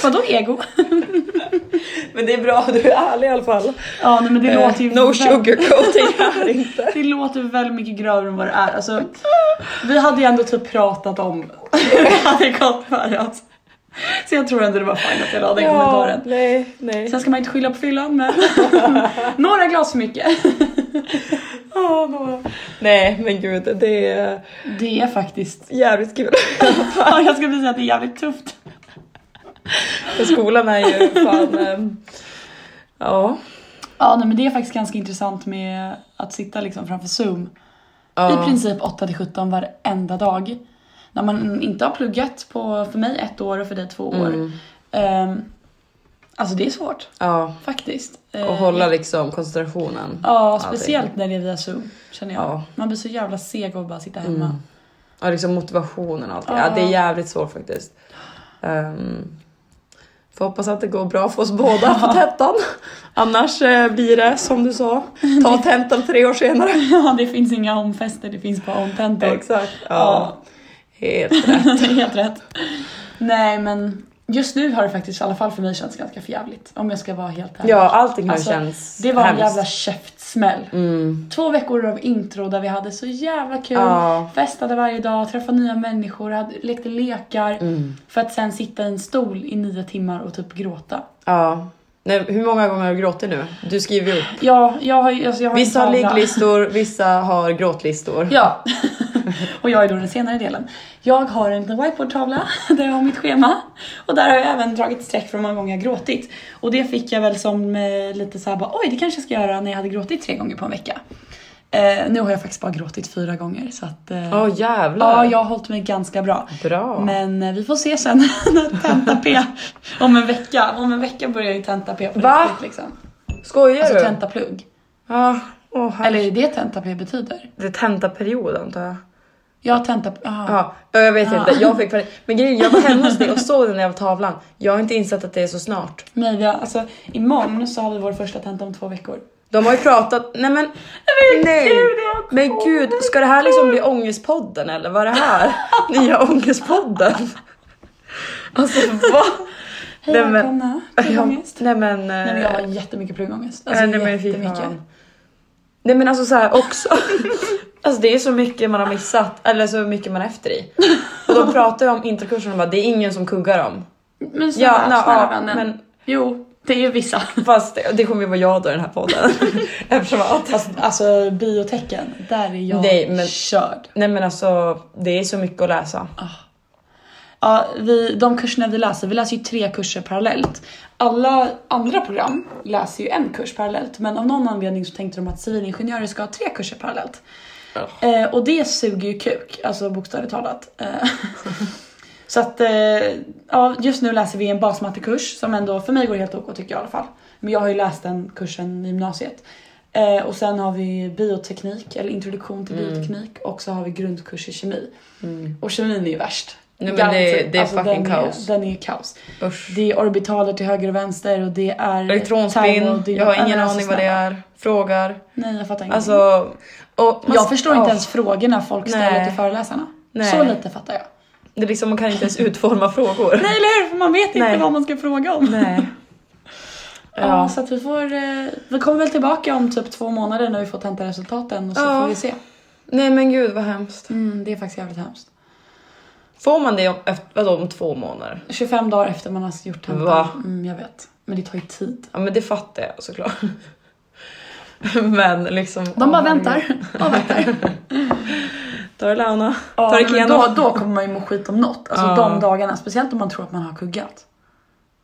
[SPEAKER 2] Vadå ego?
[SPEAKER 1] men det är bra, du är ärlig i alla fall.
[SPEAKER 2] ja, nej, men det
[SPEAKER 1] Eh,
[SPEAKER 2] låter ju
[SPEAKER 1] No
[SPEAKER 2] väl-
[SPEAKER 1] sugarcoating här inte.
[SPEAKER 2] Det låter väldigt mycket grövre än vad det är. Alltså, vi hade ju ändå typ pratat om hur det hade gått för oss. Så jag tror ändå det var fint att jag la den kommentaren.
[SPEAKER 1] nej, nej.
[SPEAKER 2] Sen ska man inte skylla på fyllan men några glas för mycket.
[SPEAKER 1] Ja, då. Nej men gud, det är
[SPEAKER 2] Det är faktiskt,
[SPEAKER 1] jävligt kul.
[SPEAKER 2] ja, jag skulle säga att det är jävligt tufft.
[SPEAKER 1] För skolan är ju fan... ehm, Ja.
[SPEAKER 2] Ja nej, men det är faktiskt ganska intressant med att sitta liksom framför zoom i princip 8 till 17 varenda dag. När Mm. man inte har pluggat på för mig ett år och för dig två år.
[SPEAKER 1] Mm.
[SPEAKER 2] Ehm, Alltså det är svårt
[SPEAKER 1] Ja,
[SPEAKER 2] faktiskt.
[SPEAKER 1] och hålla liksom koncentrationen.
[SPEAKER 2] Ja,
[SPEAKER 1] det är-
[SPEAKER 2] speciellt när det är via Zoom känner jag.
[SPEAKER 1] Ja.
[SPEAKER 2] Man blir så jävla seg av att bara sitta hemma.
[SPEAKER 1] Mm. Ja, liksom motivationen och allt. det. Ja, det är jävligt svårt faktiskt. Um, får hoppas att det går bra för oss båda på tentan. Annars eh, blir det som du sa, ta tentan tre år senare.
[SPEAKER 2] Ja, det finns inga omfester, det finns bara omtentor.
[SPEAKER 1] Exakt. Ja, helt rätt.
[SPEAKER 2] Helt rätt. Nej, men just nu har det faktiskt i alla fall för mig känts ganska förjävligt. Om jag ska vara helt ärlig.
[SPEAKER 1] Ja, allting har
[SPEAKER 2] Alltså,
[SPEAKER 1] känts
[SPEAKER 2] Det var en
[SPEAKER 1] hemskt.
[SPEAKER 2] jävla käftsmäll.
[SPEAKER 1] Mm.
[SPEAKER 2] Två veckor av intro där vi hade så jävla kul.
[SPEAKER 1] Ja.
[SPEAKER 2] Festade varje dag, träffade nya människor, hade, lekte lekar.
[SPEAKER 1] Mm.
[SPEAKER 2] För att sen sitta i en stol i nio timmar och typ gråta.
[SPEAKER 1] Ja. Nej, hur många gånger har du gråtit nu? Du skriver ju upp.
[SPEAKER 2] Ja, jag har ju... Alltså jag har
[SPEAKER 1] Vissa
[SPEAKER 2] en
[SPEAKER 1] har
[SPEAKER 2] tavla.
[SPEAKER 1] ligglistor, vissa har gråtlistor.
[SPEAKER 2] Ja. och jag är då den senare delen. Jag har en liten whiteboardtavla där jag har mitt schema. Och där har jag även dragit streck för hur många gånger jag gråtit. Och det fick jag väl som eh, lite såhär bara oj det kanske jag ska göra när jag hade gråtit tre gånger på en vecka. Eh, nu har jag faktiskt bara gråtit fyra gånger så att... eh,
[SPEAKER 1] Åh jävlar.
[SPEAKER 2] ja, jag har hållit mig ganska bra.
[SPEAKER 1] Bra.
[SPEAKER 2] Men eh, vi får se sen när tenta P om en vecka. Om en vecka börjar ju tenta P på
[SPEAKER 1] Va?
[SPEAKER 2] riktigt liksom.
[SPEAKER 1] Skojar
[SPEAKER 2] Alltså
[SPEAKER 1] du?
[SPEAKER 2] tentaplugg.
[SPEAKER 1] Ja. Åh, herre-
[SPEAKER 2] Eller är det tenta P betyder?
[SPEAKER 1] Det är tentaperiod antar jag.
[SPEAKER 2] Ja, tenta... Ah.
[SPEAKER 1] Ja, ja, jag vet inte. Jag fick panik. Men grejen jag var hemma hos dig och såg den där jävla tavlan. Jag har inte insett att det är så snart.
[SPEAKER 2] Nej, vi har, alltså imorgon så har vi vår första tenta om två veckor.
[SPEAKER 1] De har ju pratat. Nej men. Nej. Men gud, ska det här liksom bli ångestpodden eller vad är det här? Nya ångestpodden? Alltså vad?
[SPEAKER 2] Hej
[SPEAKER 1] Nej, men-
[SPEAKER 2] välkomna till
[SPEAKER 1] Ja,
[SPEAKER 2] Ångest.
[SPEAKER 1] Nej men. eh,
[SPEAKER 2] Nej men jag har jättemycket pluggångest.
[SPEAKER 1] nej,
[SPEAKER 2] Alltså
[SPEAKER 1] nej, men fy
[SPEAKER 2] jättemycket.
[SPEAKER 1] fan. Nej men alltså så här också. Alltså det är så mycket man har missat, eller så mycket man är efter i. Och de pratar ju om introkursen och bara det är ingen som kuggar om.
[SPEAKER 2] Men snälla,
[SPEAKER 1] nå,
[SPEAKER 2] snälla
[SPEAKER 1] ja,
[SPEAKER 2] vännen.
[SPEAKER 1] men-
[SPEAKER 2] Jo, det är ju vissa.
[SPEAKER 1] Fast det, det kommer ju vara jag då i den här podden. Eftersom att...
[SPEAKER 2] Alltså biotecken, där är jag
[SPEAKER 1] Nej, men-
[SPEAKER 2] körd.
[SPEAKER 1] Nej men alltså, det är så mycket att läsa.
[SPEAKER 2] Ja, vi, de kurserna vi läser, vi läser ju tre kurser parallellt. Alla andra program läser ju en kurs parallellt men av någon anledning så tänkte de att civilingenjörer ska ha tre kurser parallellt. Eh, och det suger ju kuk, alltså bokstavligt talat. Eh, så att eh, ja, just nu läser vi en basmattekurs som ändå för mig går helt ok tycker jag i alla fall. Men jag har ju läst den kursen i gymnasiet. Eh, och sen har vi bioteknik, eller introduktion
[SPEAKER 1] Mm.
[SPEAKER 2] till bioteknik och så har vi grundkurs i kemi. Och kemin är ju värst. Alltså,
[SPEAKER 1] Nej, men det- det är fucking
[SPEAKER 2] den
[SPEAKER 1] kaos.
[SPEAKER 2] Är, den är ju kaos.
[SPEAKER 1] Usch.
[SPEAKER 2] Det är orbitaler till höger och vänster och det är...
[SPEAKER 1] Elektronspinn,
[SPEAKER 2] termo-
[SPEAKER 1] jag har ingen
[SPEAKER 2] Nej, alltså,
[SPEAKER 1] aning vad det
[SPEAKER 2] snälla.
[SPEAKER 1] är. Frågar.
[SPEAKER 2] Nej jag fattar ingenting.
[SPEAKER 1] Alltså... Och man-
[SPEAKER 2] jag förstår
[SPEAKER 1] ja,
[SPEAKER 2] inte ens frågorna folk ställer
[SPEAKER 1] Nej.
[SPEAKER 2] till föreläsarna.
[SPEAKER 1] Nej.
[SPEAKER 2] Så lite fattar jag.
[SPEAKER 1] Det är liksom, man kan inte ens utforma frågor.
[SPEAKER 2] Nej eller hur? För man vet inte
[SPEAKER 1] Nej.
[SPEAKER 2] vad man ska fråga om.
[SPEAKER 1] Nej.
[SPEAKER 2] Ja.
[SPEAKER 1] Ja.
[SPEAKER 2] så att vi får... eh, Vi kommer väl tillbaka om typ två månader när vi får tentaresultaten och så
[SPEAKER 1] Ja.
[SPEAKER 2] får vi se.
[SPEAKER 1] Nej men gud vad hemskt.
[SPEAKER 2] Mm, det är faktiskt jävligt hemskt.
[SPEAKER 1] Får man det om, efter, vadå, om två månader?
[SPEAKER 2] 25 dagar efter man har gjort tentan.
[SPEAKER 1] Va?
[SPEAKER 2] Mm, jag vet. Men det tar ju tid.
[SPEAKER 1] Ja men det fattar jag såklart. Men liksom...
[SPEAKER 2] De bara väntar. Avvaktar.
[SPEAKER 1] Ta det Launa.
[SPEAKER 2] Ja,
[SPEAKER 1] Ta det
[SPEAKER 2] men
[SPEAKER 1] Keno.
[SPEAKER 2] då, då kommer man ju må skit om något. Alltså
[SPEAKER 1] Ja.
[SPEAKER 2] de dagarna. Speciellt om man tror att man har kuggat.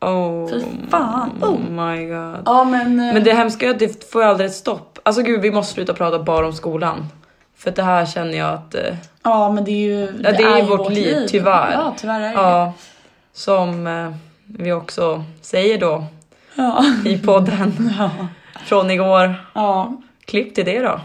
[SPEAKER 1] Oh,
[SPEAKER 2] Fy fan. Oh.
[SPEAKER 1] my god.
[SPEAKER 2] Ja men... eh,
[SPEAKER 1] Men det hemska är att det får ju aldrig ett stopp. Alltså gud, vi måste sluta prata bara om skolan. För att det här känner jag att... eh,
[SPEAKER 2] Ja men det är ju...
[SPEAKER 1] Ja, det är ju vårt liv, tyvärr.
[SPEAKER 2] Ja tyvärr är det det.
[SPEAKER 1] Ja, som eh, vi också säger då
[SPEAKER 2] Ja.
[SPEAKER 1] i podden
[SPEAKER 2] Ja.
[SPEAKER 1] från igår.
[SPEAKER 2] ja.
[SPEAKER 1] Klipp till det då.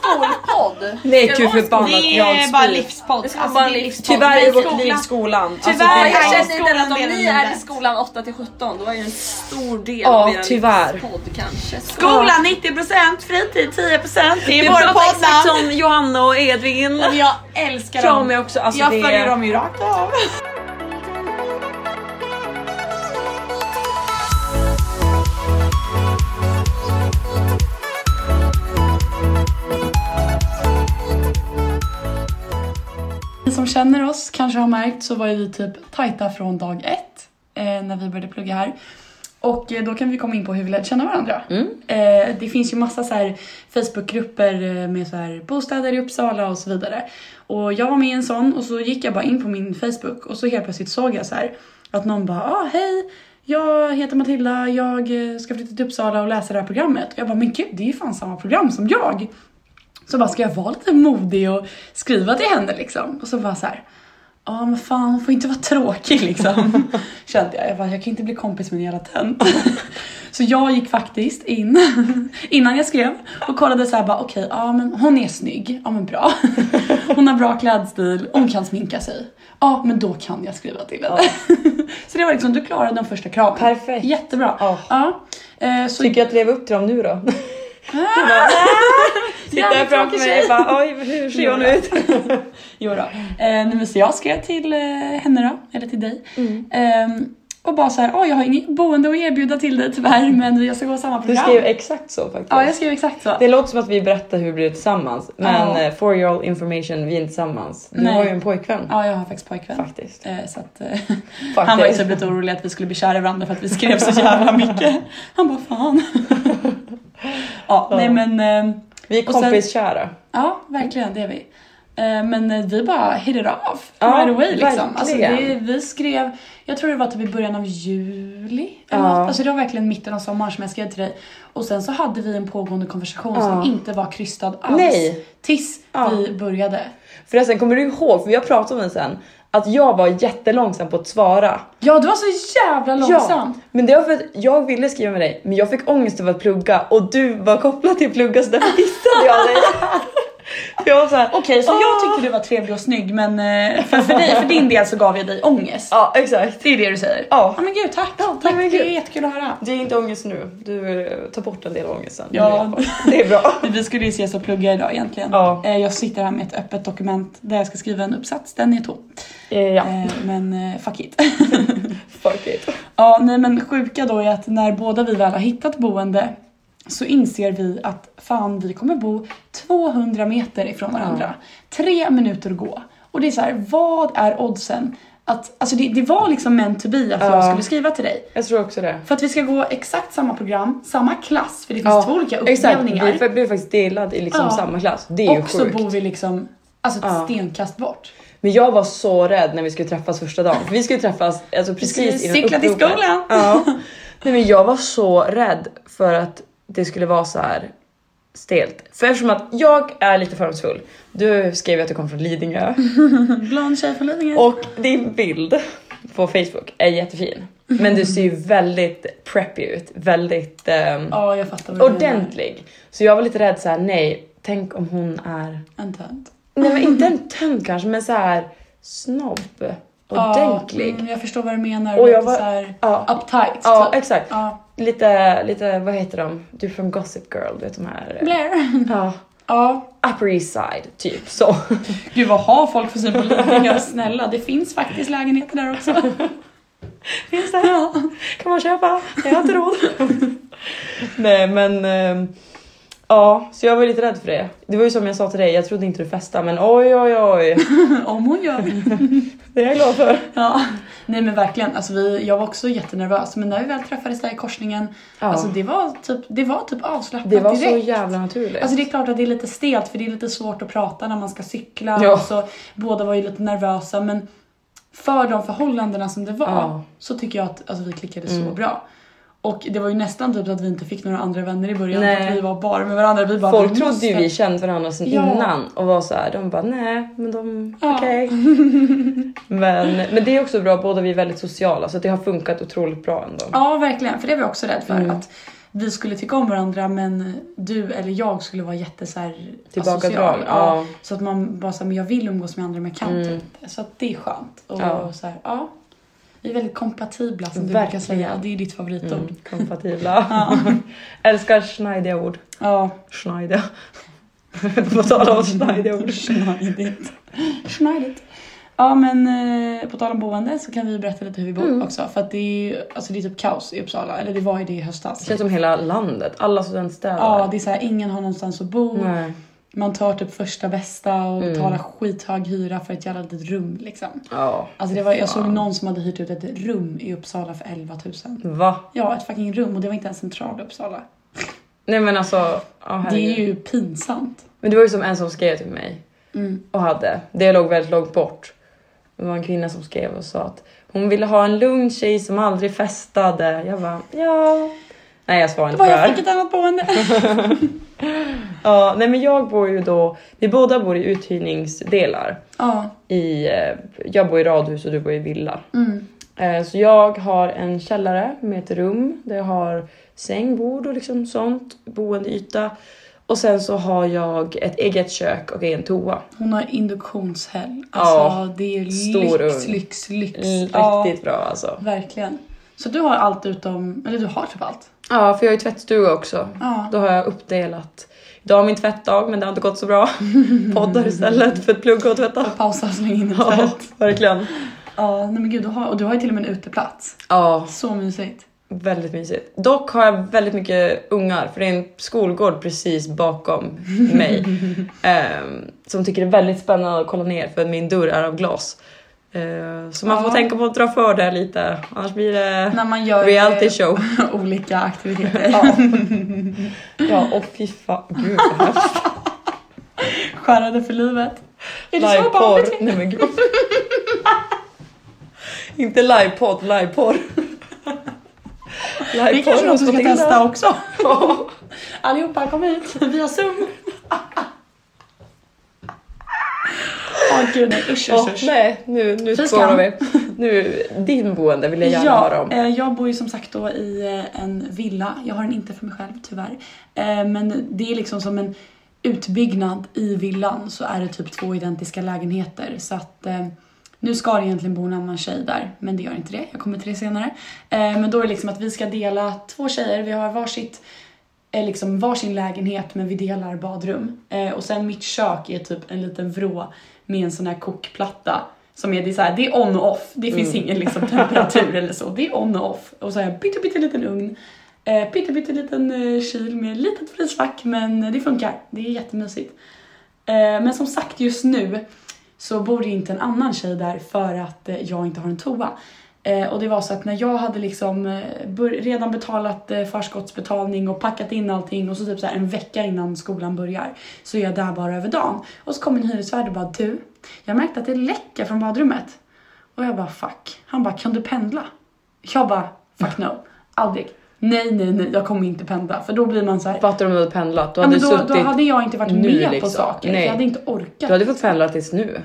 [SPEAKER 4] Skolpodd!
[SPEAKER 1] Nej gud förbannat,
[SPEAKER 5] Det
[SPEAKER 1] jag har en
[SPEAKER 5] är bara
[SPEAKER 1] spik.
[SPEAKER 5] livspodd.
[SPEAKER 4] Det ska
[SPEAKER 5] Alltså,
[SPEAKER 4] vara
[SPEAKER 5] det är
[SPEAKER 4] en
[SPEAKER 5] livspodd.
[SPEAKER 1] Tyvärr är
[SPEAKER 5] Men
[SPEAKER 1] vårt
[SPEAKER 5] skolan-
[SPEAKER 1] liv skolan. Alltså,
[SPEAKER 5] Tyvärr,
[SPEAKER 1] det-
[SPEAKER 4] Jag
[SPEAKER 5] Ja,
[SPEAKER 4] känner inte att om
[SPEAKER 5] skolan
[SPEAKER 4] ni
[SPEAKER 5] delar
[SPEAKER 4] är i
[SPEAKER 5] livet.
[SPEAKER 4] skolan 8 till 17 då är ju en stor del
[SPEAKER 1] Ja,
[SPEAKER 4] av er
[SPEAKER 1] tyvärr.
[SPEAKER 4] podd kanske.
[SPEAKER 5] Skolan 90%, fritid 10%. Det
[SPEAKER 1] Vi
[SPEAKER 5] är vår
[SPEAKER 1] pratar
[SPEAKER 5] podd.
[SPEAKER 1] exakt som Johanna och Edvin.
[SPEAKER 5] Men Jag älskar
[SPEAKER 1] Jag
[SPEAKER 5] dem.
[SPEAKER 1] med också. Alltså,
[SPEAKER 5] Jag
[SPEAKER 1] det...
[SPEAKER 5] följer dem ju rakt av.
[SPEAKER 2] Ni som känner oss kanske har märkt så var ju vi typ tajta från dag ett eh, när vi började plugga här. Och eh, då kan vi komma in på hur vi lärde känna varandra. Eh, det finns ju massa så här Facebookgrupper eh, med så här bostäder i Uppsala och så vidare. Och jag var med i en sån och så gick jag bara in på min Facebook och så helt plötsligt såg jag så här att någon bara ah, hej, jag heter Matilda, jag eh, ska flytta till Uppsala och läsa det här programmet. Och jag bara men gud det är ju fan samma program som jag. Så bara, ska jag vara lite modig och skriva till henne liksom? Och så bara så här. ja men fan hon får inte vara tråkig liksom. Kände jag. Jag, bara, jag kan inte bli kompis med en jävla tönt. så jag gick faktiskt in innan jag skrev och kollade så här bara okej, ja men hon är snygg, ja men bra. hon har bra klädstil, hon kan sminka sig. Ja men då kan jag skriva till henne. så det var liksom, du klarade den första kraven.
[SPEAKER 1] Perfekt.
[SPEAKER 2] Jättebra.
[SPEAKER 1] Ja.
[SPEAKER 2] Ja. Eh, så
[SPEAKER 1] Tycker jag att leva upp till dem nu då? Sitta här
[SPEAKER 2] Jävligt
[SPEAKER 1] framför
[SPEAKER 2] tråkig
[SPEAKER 1] mig och bara oj hur ser jag nu ut?
[SPEAKER 2] Jo då. Eh, nej, men så jag skrev till eh, henne då, eller till dig.
[SPEAKER 1] Mm.
[SPEAKER 2] Ehm, och bara så här, "Åh, jag har inget boende att erbjuda till dig tyvärr men jag ska gå samma
[SPEAKER 1] Du
[SPEAKER 2] program.
[SPEAKER 1] skrev exakt så faktiskt.
[SPEAKER 2] Ja, jag skrev exakt så.
[SPEAKER 1] Det låter som att vi berättar hur vi blev tillsammans men
[SPEAKER 2] Ja.
[SPEAKER 1] eh, for your information vi är inte tillsammans. Du
[SPEAKER 2] Nej.
[SPEAKER 1] har ju en pojkvän.
[SPEAKER 2] Ja, jag har faktiskt pojkvän.
[SPEAKER 1] Faktiskt.
[SPEAKER 2] Eh, så att, eh, han var ju
[SPEAKER 1] Faktiskt.
[SPEAKER 2] typ lite orolig att vi skulle bli kära i varandra för att vi skrev så jävla mycket. Han bara fan. ja, nej men eh,
[SPEAKER 1] Vi är
[SPEAKER 2] Och sen-
[SPEAKER 1] kompiskära.
[SPEAKER 2] ja, verkligen det är vi. Eh, Men eh, vi bara hit it off
[SPEAKER 1] Ja,
[SPEAKER 2] right away liksom. Alltså,
[SPEAKER 1] verkligen.
[SPEAKER 2] det, vi skrev, jag tror det var typ i början av juli.
[SPEAKER 1] Ja.
[SPEAKER 2] Eller något. Alltså det var verkligen mitten av sommaren som jag skrev till dig. Och sen så hade vi en pågående konversation
[SPEAKER 1] Ja.
[SPEAKER 2] som inte var krystad alls.
[SPEAKER 1] Nej.
[SPEAKER 2] Tills
[SPEAKER 1] Ja.
[SPEAKER 2] vi började.
[SPEAKER 1] Förresten kommer du ihåg, för vi har pratat om det sen, att jag var jättelångsam på att svara.
[SPEAKER 2] Ja, du var så jävla långsam.
[SPEAKER 1] Ja, men det var för att jag ville skriva med dig men jag fick ångest över att plugga och du var kopplad till plugga så därför dissade jag dig. För jag var såhär,
[SPEAKER 2] Okej, så
[SPEAKER 1] "Ah."
[SPEAKER 2] Alltså, jag tyckte du var trevlig och snygg men eh, för, för, dig, för din del så gav jag dig ångest.
[SPEAKER 1] Ja exakt.
[SPEAKER 2] Det är det du säger?
[SPEAKER 1] Ja.
[SPEAKER 2] Ja men gud tack, tack
[SPEAKER 1] men
[SPEAKER 2] det är
[SPEAKER 1] gud.
[SPEAKER 2] jättekul att höra.
[SPEAKER 1] Det är inte ångest nu, du eh, tar bort en del av ångesten.
[SPEAKER 2] Ja.
[SPEAKER 1] Det är bra.
[SPEAKER 2] Men Vi skulle ju ses och plugga idag egentligen.
[SPEAKER 1] Ja.
[SPEAKER 2] Eh, Jag sitter här med ett öppet dokument där jag ska skriva en uppsats, den är tom.
[SPEAKER 1] Eh, Ja,
[SPEAKER 2] Eh, Men eh, fuck it.
[SPEAKER 1] fuck it.
[SPEAKER 2] ja, nej men sjuka då är att när båda vi väl har hittat boende så inser vi att fan vi kommer bo 200 meter ifrån varandra. Tre minuter att gå. Och det är så här, vad är oddsen? Att, alltså det, det var liksom meant to be att jag
[SPEAKER 1] Ja.
[SPEAKER 2] skulle skriva till dig.
[SPEAKER 1] Jag tror också det.
[SPEAKER 2] För att vi ska gå exakt samma program, samma klass, för det finns
[SPEAKER 1] Ja,
[SPEAKER 2] två olika
[SPEAKER 1] Exakt,
[SPEAKER 2] uppdelningar.
[SPEAKER 1] vi blev faktiskt delad i liksom
[SPEAKER 2] Ja.
[SPEAKER 1] samma klass. Det är ju
[SPEAKER 2] Och så
[SPEAKER 1] sjukt.
[SPEAKER 2] bor vi liksom alltså ett
[SPEAKER 1] Ja.
[SPEAKER 2] stenkast bort.
[SPEAKER 1] Men jag var så rädd när vi skulle träffas första dagen. För vi skulle träffas alltså, precis innan
[SPEAKER 2] cykla till
[SPEAKER 1] uppropet.
[SPEAKER 2] skolan.
[SPEAKER 1] Ja. Nej, men jag var så rädd för att det skulle vara så här stelt. För eftersom att jag är lite fördomsfull. Du skrev ju att du kom från Lidingö.
[SPEAKER 2] Blond tjej från Lidingö.
[SPEAKER 1] Och din bild på Facebook är jättefin. Men du ser ju väldigt preppy ut. Väldigt ehm,
[SPEAKER 2] Ja, jag fattar vad du
[SPEAKER 1] ordentlig. Så jag var lite rädd så här: nej, tänk om hon är
[SPEAKER 2] menar. En tönt.
[SPEAKER 1] Nej men inte en tönt kanske men så här snobb. Ordentlig.
[SPEAKER 2] Ja, mm, jag förstår vad du menar.
[SPEAKER 1] Och
[SPEAKER 2] Och
[SPEAKER 1] jag
[SPEAKER 2] lite
[SPEAKER 1] var-
[SPEAKER 2] såhär
[SPEAKER 1] Ja,
[SPEAKER 2] uptight.
[SPEAKER 1] ja
[SPEAKER 2] typ.
[SPEAKER 1] exakt.
[SPEAKER 2] Ja.
[SPEAKER 1] Lite, lite, vad heter de? Du är från Gossip Girl, du vet de här... eh,
[SPEAKER 2] Blair.
[SPEAKER 1] Ja.
[SPEAKER 2] Ja.
[SPEAKER 1] Upper East Side, typ så.
[SPEAKER 2] Gud vad har folk för syn på Lidingö? Snälla, det finns faktiskt lägenheter där också.
[SPEAKER 1] Finns det? Kan man köpa? Jag har inte råd. Nej men... ehm, Ja, så jag var lite rädd för det. Det var ju som jag sa till dig, jag trodde inte du festade men oj oj oj.
[SPEAKER 2] Om hon gör.
[SPEAKER 1] Det är jag glad för.
[SPEAKER 2] Ja. Nej men verkligen, alltså vi, jag var också jättenervös men när vi väl träffades där i korsningen,
[SPEAKER 1] Ja.
[SPEAKER 2] alltså det var typ, det var typ avslappnat
[SPEAKER 1] det var
[SPEAKER 2] direkt.
[SPEAKER 1] så jävla naturligt.
[SPEAKER 2] Alltså det är klart att det är lite stelt för det är lite svårt att prata när man ska cykla
[SPEAKER 1] Ja.
[SPEAKER 2] och så båda var ju lite nervösa men för de förhållandena som det var
[SPEAKER 1] Ja. Mm.
[SPEAKER 2] så tycker jag att alltså, vi klickade så bra. Och det var ju nästan typ så att vi inte fick några andra vänner i början för
[SPEAKER 1] Nej.
[SPEAKER 2] att vi var bara med varandra. Vi bara,
[SPEAKER 1] Folk
[SPEAKER 2] vi
[SPEAKER 1] trodde
[SPEAKER 2] måste-
[SPEAKER 1] ju vi kände varandra sen
[SPEAKER 2] Ja.
[SPEAKER 1] innan och var så här, de bara nej men de,
[SPEAKER 2] Ja.
[SPEAKER 1] okej. men, men det är också bra, båda vi är väldigt sociala så det har funkat otroligt bra ändå.
[SPEAKER 2] Ja verkligen, för det var jag också rädd för
[SPEAKER 1] Mm.
[SPEAKER 2] att vi skulle tycka om varandra men du eller jag skulle vara jätte så här,
[SPEAKER 1] Tillbakadrag,
[SPEAKER 2] asocial. Ja.
[SPEAKER 1] ja. Mm.
[SPEAKER 2] Så att man bara såhär, men jag vill umgås med andra men jag kan inte. Så att det är skönt. Och
[SPEAKER 1] Ja.
[SPEAKER 2] så här, ja. Vi är väldigt kompatibla som du brukar
[SPEAKER 1] Verkligen.
[SPEAKER 2] säga. Det är ditt favoritord.
[SPEAKER 1] Mm, kompatibla. Älskar schneidiga ord.
[SPEAKER 2] Ja.
[SPEAKER 1] Schneidiga. På tal om schneidiga ord.
[SPEAKER 2] Schneidigt. Schneidigt. Ja men eh, på tal om boende så kan vi berätta lite hur vi bor
[SPEAKER 1] Mm.
[SPEAKER 2] också. För att det är ju, alltså det är typ kaos i Uppsala. Eller det var ju det i
[SPEAKER 1] Det
[SPEAKER 2] höstas.
[SPEAKER 1] känns som hela landet, alla studentstäder.
[SPEAKER 2] Ja det är såhär, ingen har någonstans att bo.
[SPEAKER 1] Nej.
[SPEAKER 2] Man tar typ första bästa och
[SPEAKER 1] Mm.
[SPEAKER 2] betalar skithög hyra för ett jävla litet rum liksom.
[SPEAKER 1] Ja.
[SPEAKER 2] Alltså det var, jag såg någon som hade hyrt ut ett rum i Uppsala för 11 000.
[SPEAKER 1] Va?
[SPEAKER 2] Ja, ett fucking rum och det var inte ens centrala Uppsala.
[SPEAKER 1] Nej men alltså, ja,
[SPEAKER 2] Det
[SPEAKER 1] herregud.
[SPEAKER 2] är ju pinsamt.
[SPEAKER 1] Men det var ju som en som skrev till mig och hade. Det låg väldigt långt bort. Det var en kvinna som skrev och sa att hon ville ha en lugn tjej som aldrig festade. Jag bara ja. Nej jag svarade inte
[SPEAKER 2] Vad
[SPEAKER 1] på det
[SPEAKER 2] jag fick
[SPEAKER 1] här.
[SPEAKER 2] ett annat boende.
[SPEAKER 1] Ja, nej men jag bor ju då, vi båda bor i uthyrningsdelar.
[SPEAKER 3] Ja.
[SPEAKER 1] I, eh, jag bor i radhus och du bor i villa.
[SPEAKER 2] mm.
[SPEAKER 1] Eh, Så jag har en källare med ett rum där jag har säng, bord och liksom sånt, boendeyta. Och sen så har jag ett eget kök och en toa.
[SPEAKER 2] Hon har induktionshäll. Alltså det är
[SPEAKER 1] stor
[SPEAKER 2] lyx,
[SPEAKER 1] ugn. Mm,
[SPEAKER 2] lyx, lyx.
[SPEAKER 1] Riktigt
[SPEAKER 2] Ja,
[SPEAKER 1] bra alltså.
[SPEAKER 2] verkligen. Så du har allt utom, eller du har typ allt.
[SPEAKER 1] Ja, för jag har ju tvättstuga också.
[SPEAKER 2] Ja.
[SPEAKER 1] Då har jag uppdelat. Idag är min tvättdag men det har inte gått så bra. Poddar istället för att plugga och tvätta.
[SPEAKER 2] Pausa och släng in ett
[SPEAKER 1] Ja,
[SPEAKER 2] tält.
[SPEAKER 1] verkligen.
[SPEAKER 2] Ja, nej men gud, du har, och du har ju till och med en uteplats.
[SPEAKER 1] Ja,
[SPEAKER 2] Så mysigt.
[SPEAKER 1] väldigt mysigt. Dock har jag väldigt mycket ungar för det är en skolgård precis bakom mig. ehm, som tycker det är väldigt spännande att kolla ner för min dörr är av glas. Eh, så man får
[SPEAKER 2] Ja.
[SPEAKER 1] tänka på att dra för det lite annars blir det
[SPEAKER 2] När man gör
[SPEAKER 1] reality
[SPEAKER 2] eh,
[SPEAKER 1] show.
[SPEAKER 2] olika aktiviteter.
[SPEAKER 1] Ja, och fy fan. Gud, det här
[SPEAKER 2] Skärade för livet. Är det så barn
[SPEAKER 1] Liveporr. Nej men gud. Inte livepodd, liveporr.
[SPEAKER 2] Det är kanske något du ska
[SPEAKER 1] Matilda.
[SPEAKER 2] testa också.
[SPEAKER 1] Ja.
[SPEAKER 2] Allihopa kom hit via zoom. Åh gud nej usch usch
[SPEAKER 1] Åh,
[SPEAKER 2] usch.
[SPEAKER 1] nej, nu, nu
[SPEAKER 2] Fy
[SPEAKER 1] spårar
[SPEAKER 2] skam.
[SPEAKER 1] vi. Nu, din boende vill jag gärna höra
[SPEAKER 2] Ja,
[SPEAKER 1] om.
[SPEAKER 2] eh, jag bor ju som sagt då i eh, en villa. Jag har den inte för mig själv tyvärr. Eh, Men det är liksom som en utbyggnad i villan så är det typ två identiska lägenheter. Så att eh, nu ska det egentligen bo en annan tjej där, men det gör inte det. Jag kommer till det senare. Eh, Men då är det liksom att vi ska dela två tjejer. Vi har varsitt eh, liksom varsin lägenhet men vi delar badrum. Eh, och sen mitt kök är typ en liten vrå med en sån här kokplatta. Som är, det, är så här, det är on och off, det finns ingen liksom, temperatur eller så. Det är on och off. Och så har jag pytte pytte liten ugn. Eh, pytte pytte liten eh, kyl med litet frysfack men det funkar. Det är jättemysigt. Eh, men som sagt just nu så bor det inte en annan tjej där för att eh, jag inte har en toa. Eh, och det var så att när jag hade liksom eh, bör- redan betalat eh, förskottsbetalning och packat in allting och så typ så här en vecka innan skolan börjar så är jag där bara över dagen. Och så kom en hyresvärd och bara du, jag märkte att det läcker från badrummet. Och jag bara fuck. Han bara kan du pendla? Jag bara fuck no, aldrig. Nej, nej, nej, jag kommer inte pendla. För då blir man så här.
[SPEAKER 1] Fattar om du hade pendlat? Du
[SPEAKER 2] Ja,
[SPEAKER 1] hade,
[SPEAKER 2] men då,
[SPEAKER 1] suttit,
[SPEAKER 2] då hade jag inte varit
[SPEAKER 1] nu,
[SPEAKER 2] med på
[SPEAKER 1] liksom.
[SPEAKER 2] saker.
[SPEAKER 1] Nej.
[SPEAKER 2] För jag hade inte orkat.
[SPEAKER 1] du hade fått pendla tills nu.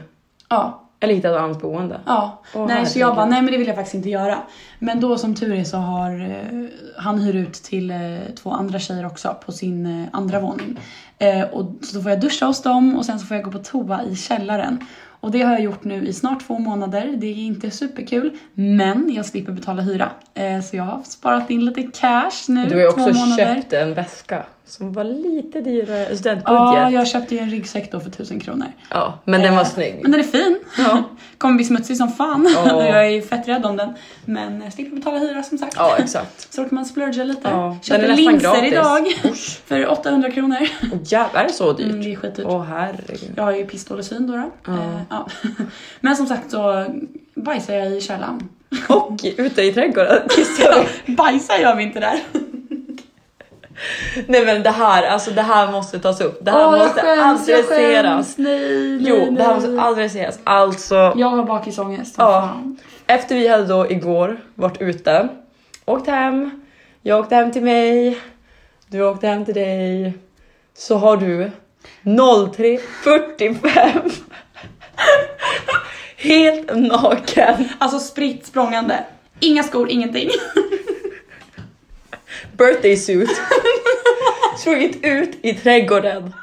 [SPEAKER 2] Ja,
[SPEAKER 1] Eller hittat annat boende.
[SPEAKER 2] Ja,
[SPEAKER 1] Åh,
[SPEAKER 2] nej så jag
[SPEAKER 1] herregud.
[SPEAKER 2] bara nej men det vill jag faktiskt inte göra. Men då som tur är så har eh, han hyr ut till eh, två andra tjejer också på sin eh, andra våning. Eh, och så då får jag duscha hos dem och sen så får jag gå på toa i källaren. Och det har jag gjort nu i snart två månader. Det är inte superkul men jag slipper betala hyra. Eh, så jag har sparat in lite cash nu.
[SPEAKER 1] Du har ju också
[SPEAKER 2] två månader.
[SPEAKER 1] köpt en väska som var lite dyrare, studentbudget.
[SPEAKER 2] Ja, jag köpte ju en ryggsäck då för tusen kronor.
[SPEAKER 1] Ja, men den var
[SPEAKER 2] Eh,
[SPEAKER 1] snygg.
[SPEAKER 2] Men den är fin. Kommer bli smutsig som fan.
[SPEAKER 1] Ja.
[SPEAKER 2] Och jag är ju fett rädd om den. Men eh, jag slipper betala hyra som sagt.
[SPEAKER 1] Ja, exakt.
[SPEAKER 2] Så då kan man splurga lite.
[SPEAKER 1] Ja, den är
[SPEAKER 2] Köper
[SPEAKER 1] nästan
[SPEAKER 2] linser
[SPEAKER 1] gratis.
[SPEAKER 2] idag för 800 kronor.
[SPEAKER 1] Åh, Jävlar, är det så dyrt?
[SPEAKER 2] Mm, det är skitdyrt.
[SPEAKER 1] Åh herregud.
[SPEAKER 2] Jag har ju pistol och syn då. då.
[SPEAKER 1] Ja.
[SPEAKER 2] Eh, ja. Men som sagt så bajsar jag i källaren.
[SPEAKER 1] Och ute i trädgården kissar vi.
[SPEAKER 2] Bajsar gör vi inte där.
[SPEAKER 1] Nej men det här, alltså det här måste tas upp. Det här
[SPEAKER 2] Åh, jag
[SPEAKER 1] måste
[SPEAKER 2] skäms, jag
[SPEAKER 1] adresseras.
[SPEAKER 2] skäms. Nej, nej,
[SPEAKER 1] Jo, det här
[SPEAKER 2] nej.
[SPEAKER 1] måste adresseras. Alltså,
[SPEAKER 2] Jag har bakisångest.
[SPEAKER 1] ja. Efter vi hade då igår varit ute, åkt hem, jag åkte hem till mig, du åkte hem till dig, så har du 03.45 helt naken
[SPEAKER 2] Alltså spritt språngande. Inga skor, ingenting.
[SPEAKER 1] birthday suit sprungit ut i trädgården,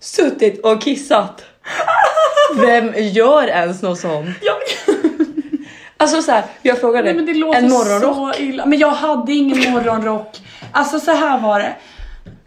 [SPEAKER 1] suttit och kissat. Vem gör ens något sånt? Alltså så här, jag frågade
[SPEAKER 2] Nej, men det låter
[SPEAKER 1] en morgonrock.
[SPEAKER 2] så illa. Men jag hade ingen morgonrock. Alltså så här var det.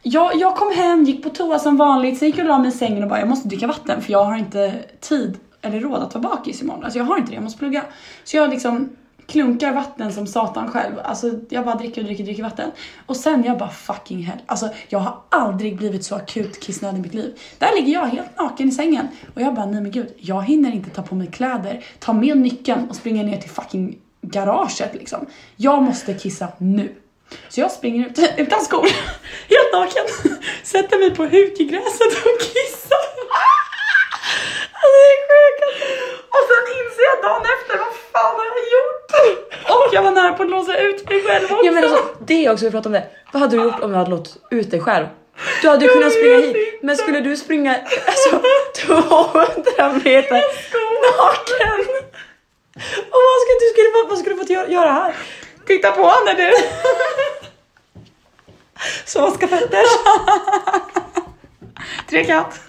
[SPEAKER 2] Jag, jag kom hem, gick på toa som vanligt, sen gick jag och la mig i sängen och bara jag måste dricka vatten för jag har inte tid eller råd att vara bakis imorgon. Alltså jag har inte det, jag måste plugga. Så jag liksom klunkar vatten som satan själv. Alltså jag bara dricker och dricker och dricker vatten. Och sen jag bara fucking hell. Alltså jag har aldrig blivit så akut kissnödig i mitt liv. Där ligger jag helt naken i sängen och jag bara nej men gud, jag hinner inte ta på mig kläder, ta med nyckeln och springa ner till fucking garaget liksom. Jag måste kissa nu. Så jag springer ut utan skor, helt naken, sätter mig på huk i gräset och kissar. Alltså det är sjukt. Och sen inser jag dagen efter, vad fan har jag gjort? Och jag var nära på att låsa ut mig själv också.
[SPEAKER 1] Ja men alltså, det är också, vi pratade om det. Vad hade du gjort om du hade låtit ut dig själv? Du hade ju kunnat springa hit. Men skulle du springa alltså, 200 meter naken? Och vad skulle du skulle, vad- vad skulle du fått gö- göra här? Titta på när du... Som Oscar Petters.
[SPEAKER 2] Trekant.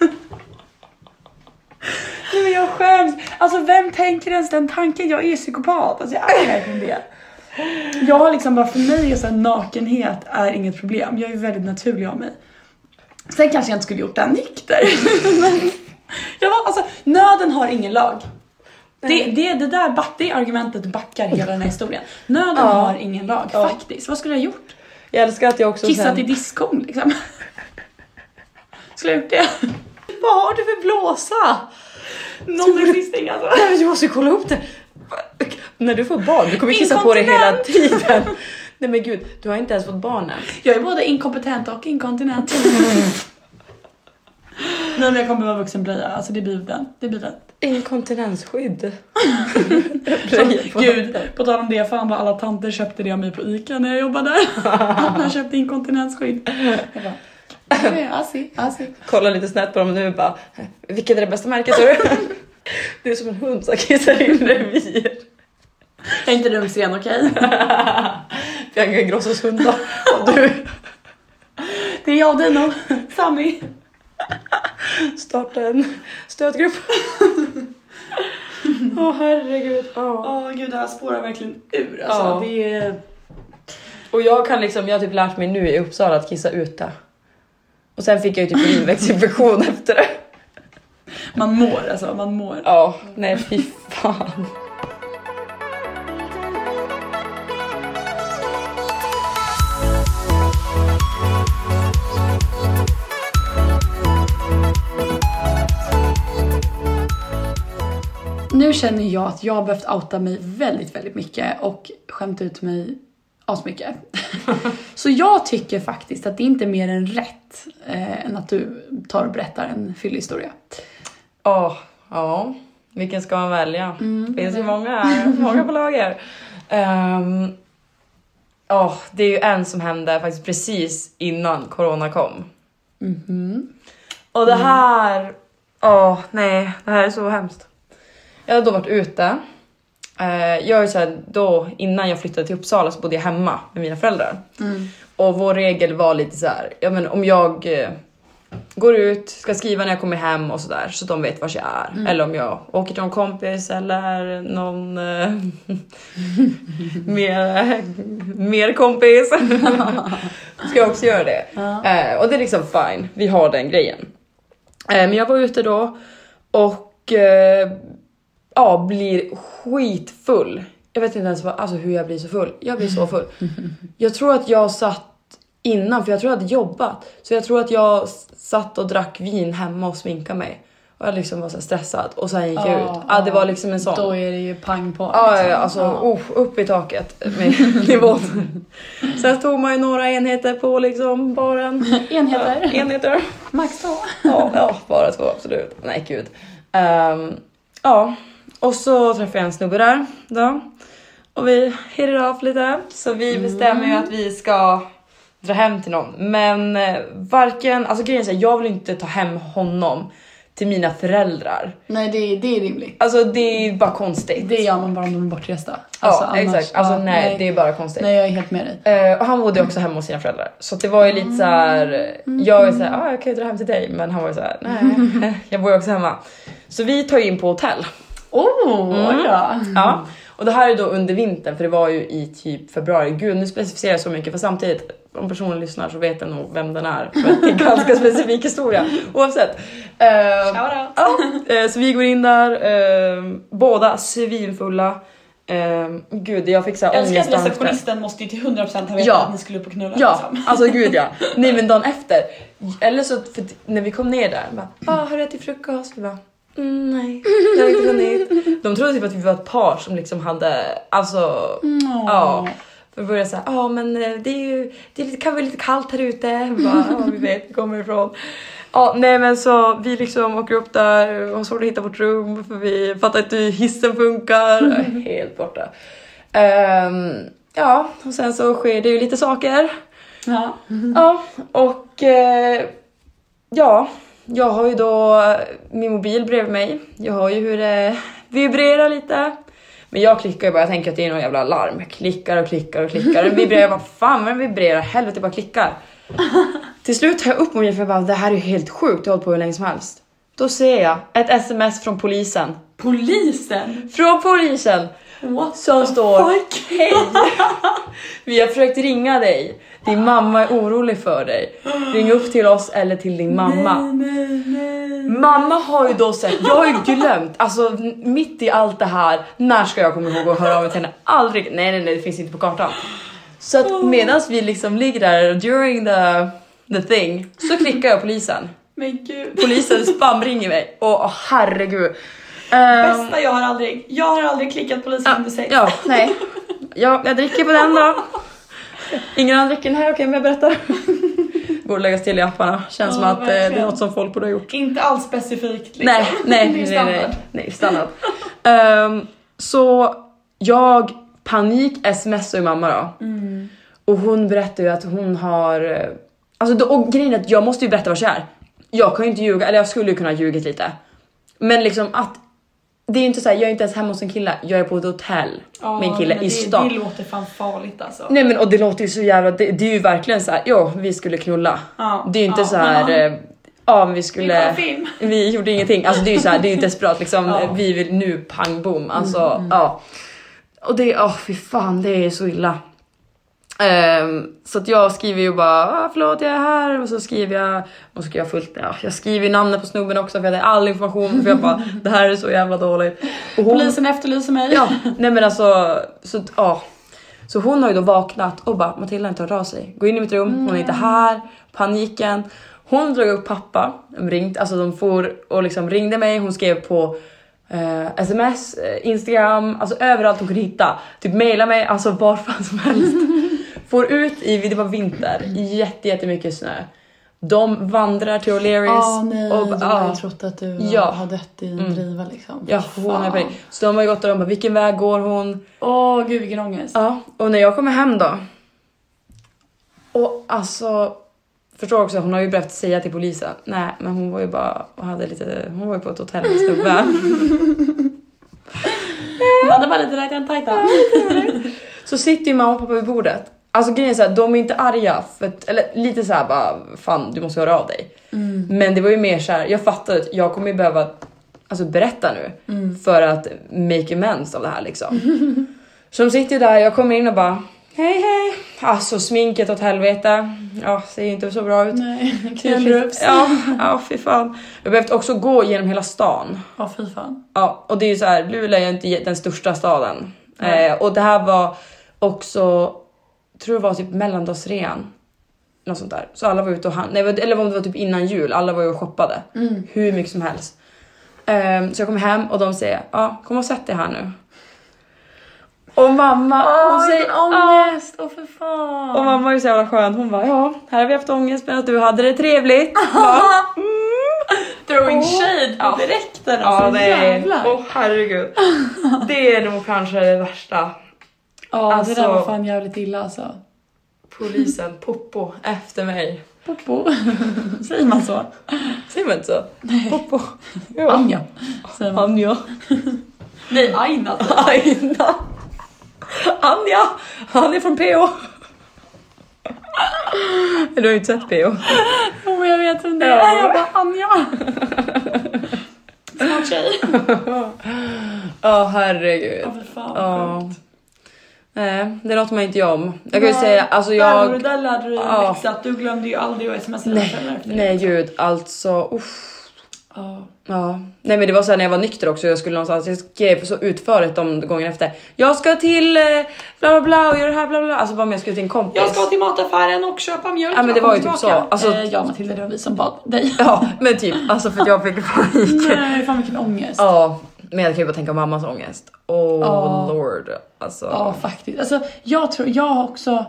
[SPEAKER 2] Nej men jag skäms. Alltså vem tänker ens den tanken? Jag är psykopat. Alltså jag är verkligen det. Jag har liksom bara, för mig är så här, nakenhet är inget problem. Jag är väldigt naturlig av mig. Sen kanske jag inte skulle gjort det här nykter. men jag var, alltså, nöden har ingen lag. Det, det, det där back, det argumentet backar hela den här historien. Nöden
[SPEAKER 1] Ja.
[SPEAKER 2] har ingen lag
[SPEAKER 1] Ja.
[SPEAKER 2] faktiskt. Vad skulle jag ha gjort?
[SPEAKER 1] Jag älskar att jag också
[SPEAKER 2] Kissat
[SPEAKER 1] sen-
[SPEAKER 2] i diskon liksom. Skulle jag gjort det?
[SPEAKER 1] Vad har du för blåsa?
[SPEAKER 2] Non-existing alltså.
[SPEAKER 1] Nej, men du måste kolla upp det. När du får barn, du kommer kissa på dig hela tiden. Nej men gud, du har inte ens fått barn än.
[SPEAKER 2] Jag är både inkompetent och inkontinent. Nej men jag kommer behöva vuxenblöja, alltså det blir den. Det blir den.
[SPEAKER 1] Inkontinensskydd.
[SPEAKER 2] Gud, på tal om det, fan vad alla tanter köpte det av mig på ICA när jag jobbade där. Alla köpte inkontinensskydd. Jag bara, "Okej, assi, assi.
[SPEAKER 1] Kolla lite snett på dem nu och bara, vilket är det bästa märket? tror du? Du är som en hund som kissar in revir.
[SPEAKER 2] Jag är inte rumsren, okej?
[SPEAKER 1] Bianca Grossos hundar. Och du
[SPEAKER 2] Det är jag och Dino, Sammy.
[SPEAKER 1] startar en stödgrupp. Åh herregud. ja.
[SPEAKER 2] Åh gud, det här spårar verkligen ur
[SPEAKER 1] alltså.
[SPEAKER 2] Det är...
[SPEAKER 1] Och jag kan liksom, jag har typ lärt mig nu i Uppsala att kissa ute. Och sen fick jag ju typ urinvägsinfektion efter det.
[SPEAKER 2] Man mår alltså, man mår.
[SPEAKER 1] Ja, nej fy fan.
[SPEAKER 2] Nu känner jag att jag har behövt outa mig väldigt, väldigt mycket och skämt ut mig asmycket. så jag tycker faktiskt att det inte är mer än rätt eh, än att du tar och berättar en fyllig historia.
[SPEAKER 1] Ja, ja. Vilken ska man välja? det finns ju många här, många på lager. Ehm, Ja, det är ju en som hände faktiskt precis innan corona kom. Och det här, ja nej, det här är så hemskt. Jag hade då varit ute. Eh, jag är så här, då, innan jag flyttade till Uppsala så bodde jag hemma med mina föräldrar. Och vår regel var lite så här, ja men om jag eh, går ut, ska skriva när jag kommer hem och sådär så de vet var jag är. Eller om jag åker till någon kompis eller någon eh, mer, mer kompis. ska jag också göra det. Eh, och det är liksom fine, vi har den grejen. Eh, men jag var ute då och eh, ja, blir skitfull. Jag vet inte ens vad, alltså hur jag blir så full. Jag blir så full. Jag tror att jag satt innan, för jag tror jag hade jobbat. Så jag tror att jag s- satt och drack vin hemma och sminkade mig. Och jag liksom var så här stressad och sen gick jag ut.
[SPEAKER 2] Ja,
[SPEAKER 1] Ah, det var liksom en sån.
[SPEAKER 2] Då är det ju pang på.
[SPEAKER 1] Ja,
[SPEAKER 2] liksom.
[SPEAKER 1] ja, alltså
[SPEAKER 2] Ja.
[SPEAKER 1] oh, upp i taket med nivån. Sen tog man ju några enheter på liksom baren.
[SPEAKER 2] Enheter.
[SPEAKER 1] Enheter.
[SPEAKER 2] Max två.
[SPEAKER 1] Ja, ja, bara två absolut. Nej gud. Ehm, ja, och så träffade jag en snubbe där då. Och vi hirrade av lite. Så
[SPEAKER 2] Mm.
[SPEAKER 1] vi bestämmer ju att vi ska dra hem till någon. Men eh, varken, alltså grejen är så här, jag vill inte ta hem honom till mina föräldrar.
[SPEAKER 2] Nej, det är, det är rimligt.
[SPEAKER 1] Alltså det är bara konstigt.
[SPEAKER 2] Det gör man bara om de är bortresta.
[SPEAKER 1] ja, exakt. Alltså
[SPEAKER 2] ja,
[SPEAKER 1] nej, det är bara konstigt.
[SPEAKER 2] Nej, jag är helt med dig.
[SPEAKER 1] Eh, och han bodde ju också hemma hos sina föräldrar. Så att det var ju lite så här.
[SPEAKER 3] Mm.
[SPEAKER 1] jag är så här, ah, jag kan ju dra hem till dig. Men han var ju så här, nej, jag bor ju också hemma. Så vi tar ju in på hotell.
[SPEAKER 2] Oh,
[SPEAKER 1] Mm.
[SPEAKER 2] ja.
[SPEAKER 1] Ja. Och det här är då under vintern för det var ju i typ februari. Gud nu specificerar jag så mycket för samtidigt om personen lyssnar så vet den nog vem den är. För att det är en ganska specifik historia oavsett. Eh, ja, eh, så vi går in där, eh, båda svinfulla. Eh, gud jag fick så här
[SPEAKER 3] Jag älskar
[SPEAKER 1] ångest
[SPEAKER 3] att
[SPEAKER 1] och hangstress.
[SPEAKER 3] receptionisten måste ju till 100% ha vetat
[SPEAKER 1] Ja.
[SPEAKER 3] att ni skulle upp och knulla.
[SPEAKER 1] Ja,
[SPEAKER 3] liksom.
[SPEAKER 1] alltså gud ja. Nej men dagen efter. Eller så, för t- när vi kom ner där, bara, ah, har du ätit frukost? Vi bara, mm, nej, jag har inte hunnit. De trodde typ att vi var ett par som liksom hade, alltså,
[SPEAKER 3] Mm.
[SPEAKER 1] ja. För vi började såhär, ja ah, men eh, det är ju, det är lite, kan vara lite kallt här ute. Vi bara, ja vi vet, vi kommer ifrån. Ja, nej men så vi liksom åker upp där och har svårt att hitta vårt rum för vi fattar inte hur hissen funkar. Helt borta. Ehm, ja, och sen så sker det ju lite saker.
[SPEAKER 2] ja.
[SPEAKER 1] Ja, och eh, ja, Jag har ju då min mobil bredvid mig. Jag hör ju hur det vibrerar lite. Men jag klickar ju bara, jag tänker att det är någon jävla larm. Jag klickar och klickar och klickar. Den vibrerar, jag bara fan vad den vibrerar, helvete jag bara klickar. Till slut tar jag upp mobilen för jag bara det här är ju helt sjukt, jag har hållit på hur länge som helst. Då ser jag ett sms från polisen.
[SPEAKER 3] Polisen?
[SPEAKER 1] Från polisen!
[SPEAKER 3] What
[SPEAKER 1] Som står
[SPEAKER 3] fuck?
[SPEAKER 1] Hej! Vi har försökt ringa dig. Din mamma är orolig för dig. Ring upp till oss eller till din mamma.
[SPEAKER 3] Nej, nej.
[SPEAKER 1] Mamma har ju då sett, jag har ju glömt, alltså n- mitt i allt det här, när ska jag komma ihåg att höra av mig till henne? Aldrig! Nej nej nej det finns inte på kartan. Så att medan vi liksom ligger där during the, the thing så klickar jag polisen.
[SPEAKER 3] Men gud.
[SPEAKER 1] Polisen spamringer mig. Åh åh, herregud. Ehm,
[SPEAKER 3] Bästa jag har aldrig. Jag har aldrig klickat polisen under sex.
[SPEAKER 1] Ja, nej. Jag, jag dricker på den då. Ingen annan dricker den här, okej men jag berättar. Borde läggas till i apparna. Känns som
[SPEAKER 3] Ja,
[SPEAKER 1] att eh, det är
[SPEAKER 3] verkligen.
[SPEAKER 1] något som folk borde ha gjort.
[SPEAKER 3] Inte alls specifikt liksom.
[SPEAKER 1] Nej, nej,
[SPEAKER 3] Det är
[SPEAKER 1] nej, nej, nej,
[SPEAKER 3] standard.
[SPEAKER 1] nej stannat. Ehm, så jag panik smsar ju mamma då.
[SPEAKER 3] Mm.
[SPEAKER 1] Och hon berättar ju att hon har... eh, Alltså, då- och grejen är att jag måste ju berätta vad jag är. Jag kan ju inte ljuga, eller jag skulle ju kunna ha ljugit lite. Men liksom att... Det är ju inte så här, jag är inte ens hemma hos en kille, jag är på ett hotell
[SPEAKER 3] Ja,
[SPEAKER 1] med en kille
[SPEAKER 3] men
[SPEAKER 1] i
[SPEAKER 3] det,
[SPEAKER 1] stan. Mm.
[SPEAKER 3] Det låter fan farligt alltså.
[SPEAKER 1] Nej men och det låter ju så jävla, det, det är ju verkligen så här, jo vi skulle knulla.
[SPEAKER 3] Ja,
[SPEAKER 1] det är ju inte
[SPEAKER 3] ja.
[SPEAKER 1] så här, eh, ja men vi
[SPEAKER 3] Vi
[SPEAKER 1] skulle,
[SPEAKER 3] kollar film.
[SPEAKER 1] vi gjorde ingenting. Alltså det är ju så här, det är ju desperat liksom,
[SPEAKER 3] Ja. Mm,
[SPEAKER 1] vi vill nu pang bom. Alltså ja. Och det, åh fy fan det är så illa. Ehm, så att jag skriver ju bara ah, förlåt jag är här och så skriver jag och så skriver jag fullt ja, jag skriver ju namnet på snubben också för jag hade all information för jag bara det här är så jävla dåligt. Och hon-
[SPEAKER 3] Polisen efterlyser mig.
[SPEAKER 1] Ja, nej men alltså så att, ja. Så hon har ju då vaknat och bara Matilda har inte hört av sig. Gå in i mitt rum, hon är inte här. Paniken. Hon drog upp pappa, de ringt, alltså de for och liksom ringde mig. Hon skrev på eh, sms, eh, instagram, alltså överallt hon kunde hitta. Typ mejla mig, alltså var fan som helst. for ut i, det var vinter, jätte, jättemycket snö. De vandrar till O'Learys.
[SPEAKER 2] Ah, nej,
[SPEAKER 1] och,
[SPEAKER 2] jag
[SPEAKER 1] ja.
[SPEAKER 2] har ju trott att du
[SPEAKER 1] Ja. Mm.
[SPEAKER 2] har dött i en driva liksom.
[SPEAKER 1] Ja, för hon är panik. Så de har ju gått där och de bara vilken väg går hon?
[SPEAKER 3] Åh gud vilken ångest.
[SPEAKER 1] Ja, och när jag kommer hem då. Och alltså, förstår också, hon har ju behövt säga till polisen. Nej, men hon var ju bara, och hade lite, hon var ju på ett hotell med snubben.
[SPEAKER 3] Ja, det var lite där den tajta.
[SPEAKER 1] Så sitter ju mamma och pappa vid bordet. Alltså grejen är såhär, de är inte arga, för att, eller lite såhär bara fan du måste höra av dig. Men det var ju mer såhär, jag fattade att jag kommer ju behöva alltså, berätta nu för att make amends av det här liksom. Så de sitter ju där, jag kommer in och bara hej hej. Alltså sminket åt helvete. Ja, ser ju inte så bra ut.
[SPEAKER 3] Nej,
[SPEAKER 1] Tydligt. Ja, ja fy fan. Jag behövde också gå genom hela stan.
[SPEAKER 3] Ja fy fan.
[SPEAKER 1] Ja, och det är ju så här, Luleå är ju inte den största staden. Eh, och det här var också, tror det var typ mellandagsrean. Något sånt där. Så alla var ute och han, nej, eller om det var typ innan jul, alla var ju och shoppade. Hur mycket som helst. Ehm, så jag kom hem och de säger, ja kom och sätt dig här nu. Och mamma, hon säger, "Ja."
[SPEAKER 3] Åh för fan.
[SPEAKER 1] Och mamma är ju så jävla skön, hon bara ja, här har vi haft ångest men att du hade det trevligt. Ja.
[SPEAKER 3] Throwing shade på direkten alltså.
[SPEAKER 1] Ja, det är...
[SPEAKER 3] jävlar.
[SPEAKER 1] Åh herregud. Det är nog kanske det värsta.
[SPEAKER 2] Ja, det där var
[SPEAKER 1] Alltså-
[SPEAKER 2] fan jävligt illa alltså.
[SPEAKER 1] Polisen, Poppo, efter mig.
[SPEAKER 2] Popo. Säger man så?
[SPEAKER 1] Säger man inte så? Poppo. Ja.
[SPEAKER 2] Anja. Säger man.
[SPEAKER 1] Anja.
[SPEAKER 3] Nej Aina.
[SPEAKER 1] Aina. Anja. Han är från PO. Du har ju inte sett PO.
[SPEAKER 2] Jo, jag vet vem det är.
[SPEAKER 1] Ja.
[SPEAKER 2] Jag bara Anja.
[SPEAKER 3] Smart tjej.
[SPEAKER 1] Ja herregud.
[SPEAKER 3] Åh fy fan
[SPEAKER 1] Ja.
[SPEAKER 3] vad sjukt.
[SPEAKER 1] Nej, det låter man inte jag om. Jag kan ju
[SPEAKER 3] Nej,
[SPEAKER 1] säga, alltså
[SPEAKER 3] Där, och
[SPEAKER 1] jag...
[SPEAKER 3] det där lärde du dig
[SPEAKER 1] Ja.
[SPEAKER 3] en läxa att du glömde ju aldrig att smsa dina föräldrar
[SPEAKER 1] Nej,
[SPEAKER 3] efter det.
[SPEAKER 1] nej gud alltså usch.
[SPEAKER 3] Ja.
[SPEAKER 1] Ja, nej men det var så här när jag var nykter också. Jag skulle någonstans, jag skrev så utförligt om gången efter. Jag ska till eh, bla bla bla och gör det här bla bla. bla. Alltså bara om jag skulle till en kompis.
[SPEAKER 3] Jag ska till mataffären och köpa mjölk.
[SPEAKER 1] Ja, men
[SPEAKER 3] jag
[SPEAKER 1] det var ju
[SPEAKER 3] kommer
[SPEAKER 1] typ
[SPEAKER 3] tillbaka.
[SPEAKER 1] så. Alltså-
[SPEAKER 2] Eh, ja Matilda, det var vi som bad dig.
[SPEAKER 1] Ja, men typ alltså för att jag fick panik.
[SPEAKER 2] Nej, fan vilken ångest. Ja,
[SPEAKER 1] Ja, men jag kan ju bara tänka på mammas ångest. Oh
[SPEAKER 2] Ja.
[SPEAKER 1] lord alltså.
[SPEAKER 2] faktiskt. Alltså, jag, tror, jag har också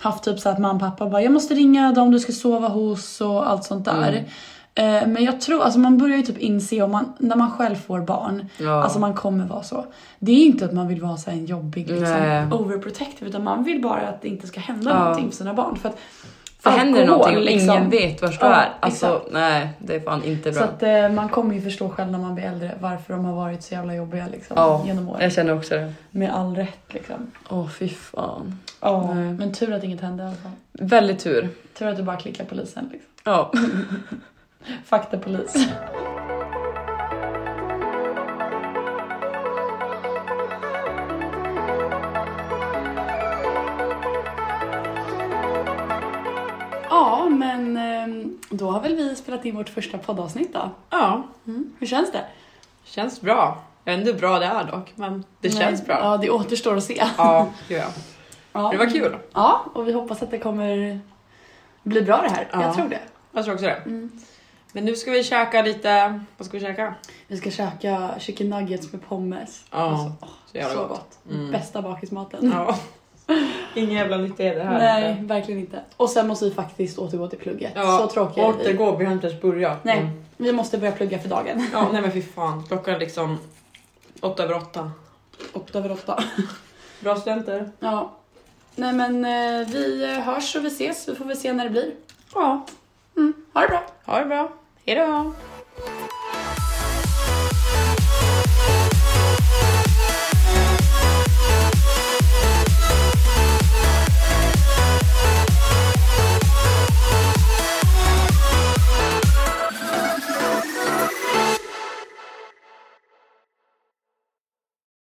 [SPEAKER 2] haft typ så att mamma och pappa bara jag måste ringa dem du ska sova hos och allt sånt där.
[SPEAKER 1] Mm.
[SPEAKER 2] Eh, Men jag tror, alltså man börjar ju typ inse om man, när man själv får barn,
[SPEAKER 1] Ja.
[SPEAKER 2] alltså man kommer vara så. Det är inte att man vill vara så här en jobbig liksom.
[SPEAKER 1] Nej.
[SPEAKER 3] overprotective utan man vill bara att det inte ska hända
[SPEAKER 1] Ja.
[SPEAKER 3] någonting för sina barn. För att
[SPEAKER 6] För händer det
[SPEAKER 7] alkohol,
[SPEAKER 6] någonting och ingen
[SPEAKER 7] liksom.
[SPEAKER 6] vet vart du
[SPEAKER 7] Ja,
[SPEAKER 6] är. Alltså nej, det är fan inte
[SPEAKER 7] Så
[SPEAKER 6] bra.
[SPEAKER 7] att, eh, man kommer ju förstå själv när man blir äldre varför de har varit så jävla jobbiga liksom,
[SPEAKER 6] Ja,
[SPEAKER 7] genom åren.
[SPEAKER 6] Jag känner också det.
[SPEAKER 7] Med all rätt liksom.
[SPEAKER 6] Åh fy fan.
[SPEAKER 7] Ja,
[SPEAKER 6] Nej.
[SPEAKER 7] men tur att inget hände i alla fall.
[SPEAKER 6] Väldigt tur.
[SPEAKER 7] Tur att du bara klickar polisen liksom.
[SPEAKER 6] Ja.
[SPEAKER 7] Faktapolis.
[SPEAKER 2] Ja, men
[SPEAKER 7] eh,
[SPEAKER 2] ehm, då har väl vi spelat in vårt första poddavsnitt då.
[SPEAKER 1] Ja,
[SPEAKER 2] Hur känns det?
[SPEAKER 1] känns bra. Jag vet inte hur bra det är dock, men det känns
[SPEAKER 2] Nej,
[SPEAKER 1] bra. Ja,
[SPEAKER 2] Ja, det återstår att se.
[SPEAKER 1] gud ja.
[SPEAKER 2] Ja.
[SPEAKER 1] Det var kul.
[SPEAKER 2] Ja, och vi hoppas att det kommer bli bra det här.
[SPEAKER 1] Ja.
[SPEAKER 2] Jag tror det.
[SPEAKER 1] Jag tror också det.
[SPEAKER 2] Mm.
[SPEAKER 1] Men nu ska vi käka lite, vad ska vi käka?
[SPEAKER 2] Vi ska käka chicken nuggets med pommes.
[SPEAKER 1] Ja,
[SPEAKER 2] Alltså,
[SPEAKER 1] så jävla
[SPEAKER 2] så gott.
[SPEAKER 1] gott. Mm.
[SPEAKER 2] Bästa bakismaten.
[SPEAKER 1] Ja. Ingen jävla nytta är det här.
[SPEAKER 2] Nej, verkligen inte. Och sen måste vi faktiskt återgå till plugget.
[SPEAKER 1] Ja,
[SPEAKER 2] Så tråkiga är vi.
[SPEAKER 1] Återgå, vi har inte ens börjat.
[SPEAKER 2] Nej,
[SPEAKER 1] Mm.
[SPEAKER 2] vi måste börja plugga för dagen.
[SPEAKER 1] Ja, nej men fy fan, klockan är liksom åtta över åtta.
[SPEAKER 2] Åtta över åtta.
[SPEAKER 1] Bra studenter.
[SPEAKER 2] Ja. Nej men eh, vi hörs och vi ses. Vi får väl se när det blir.
[SPEAKER 1] Ja,
[SPEAKER 2] Ha det bra!
[SPEAKER 1] ha det bra. Hejdå!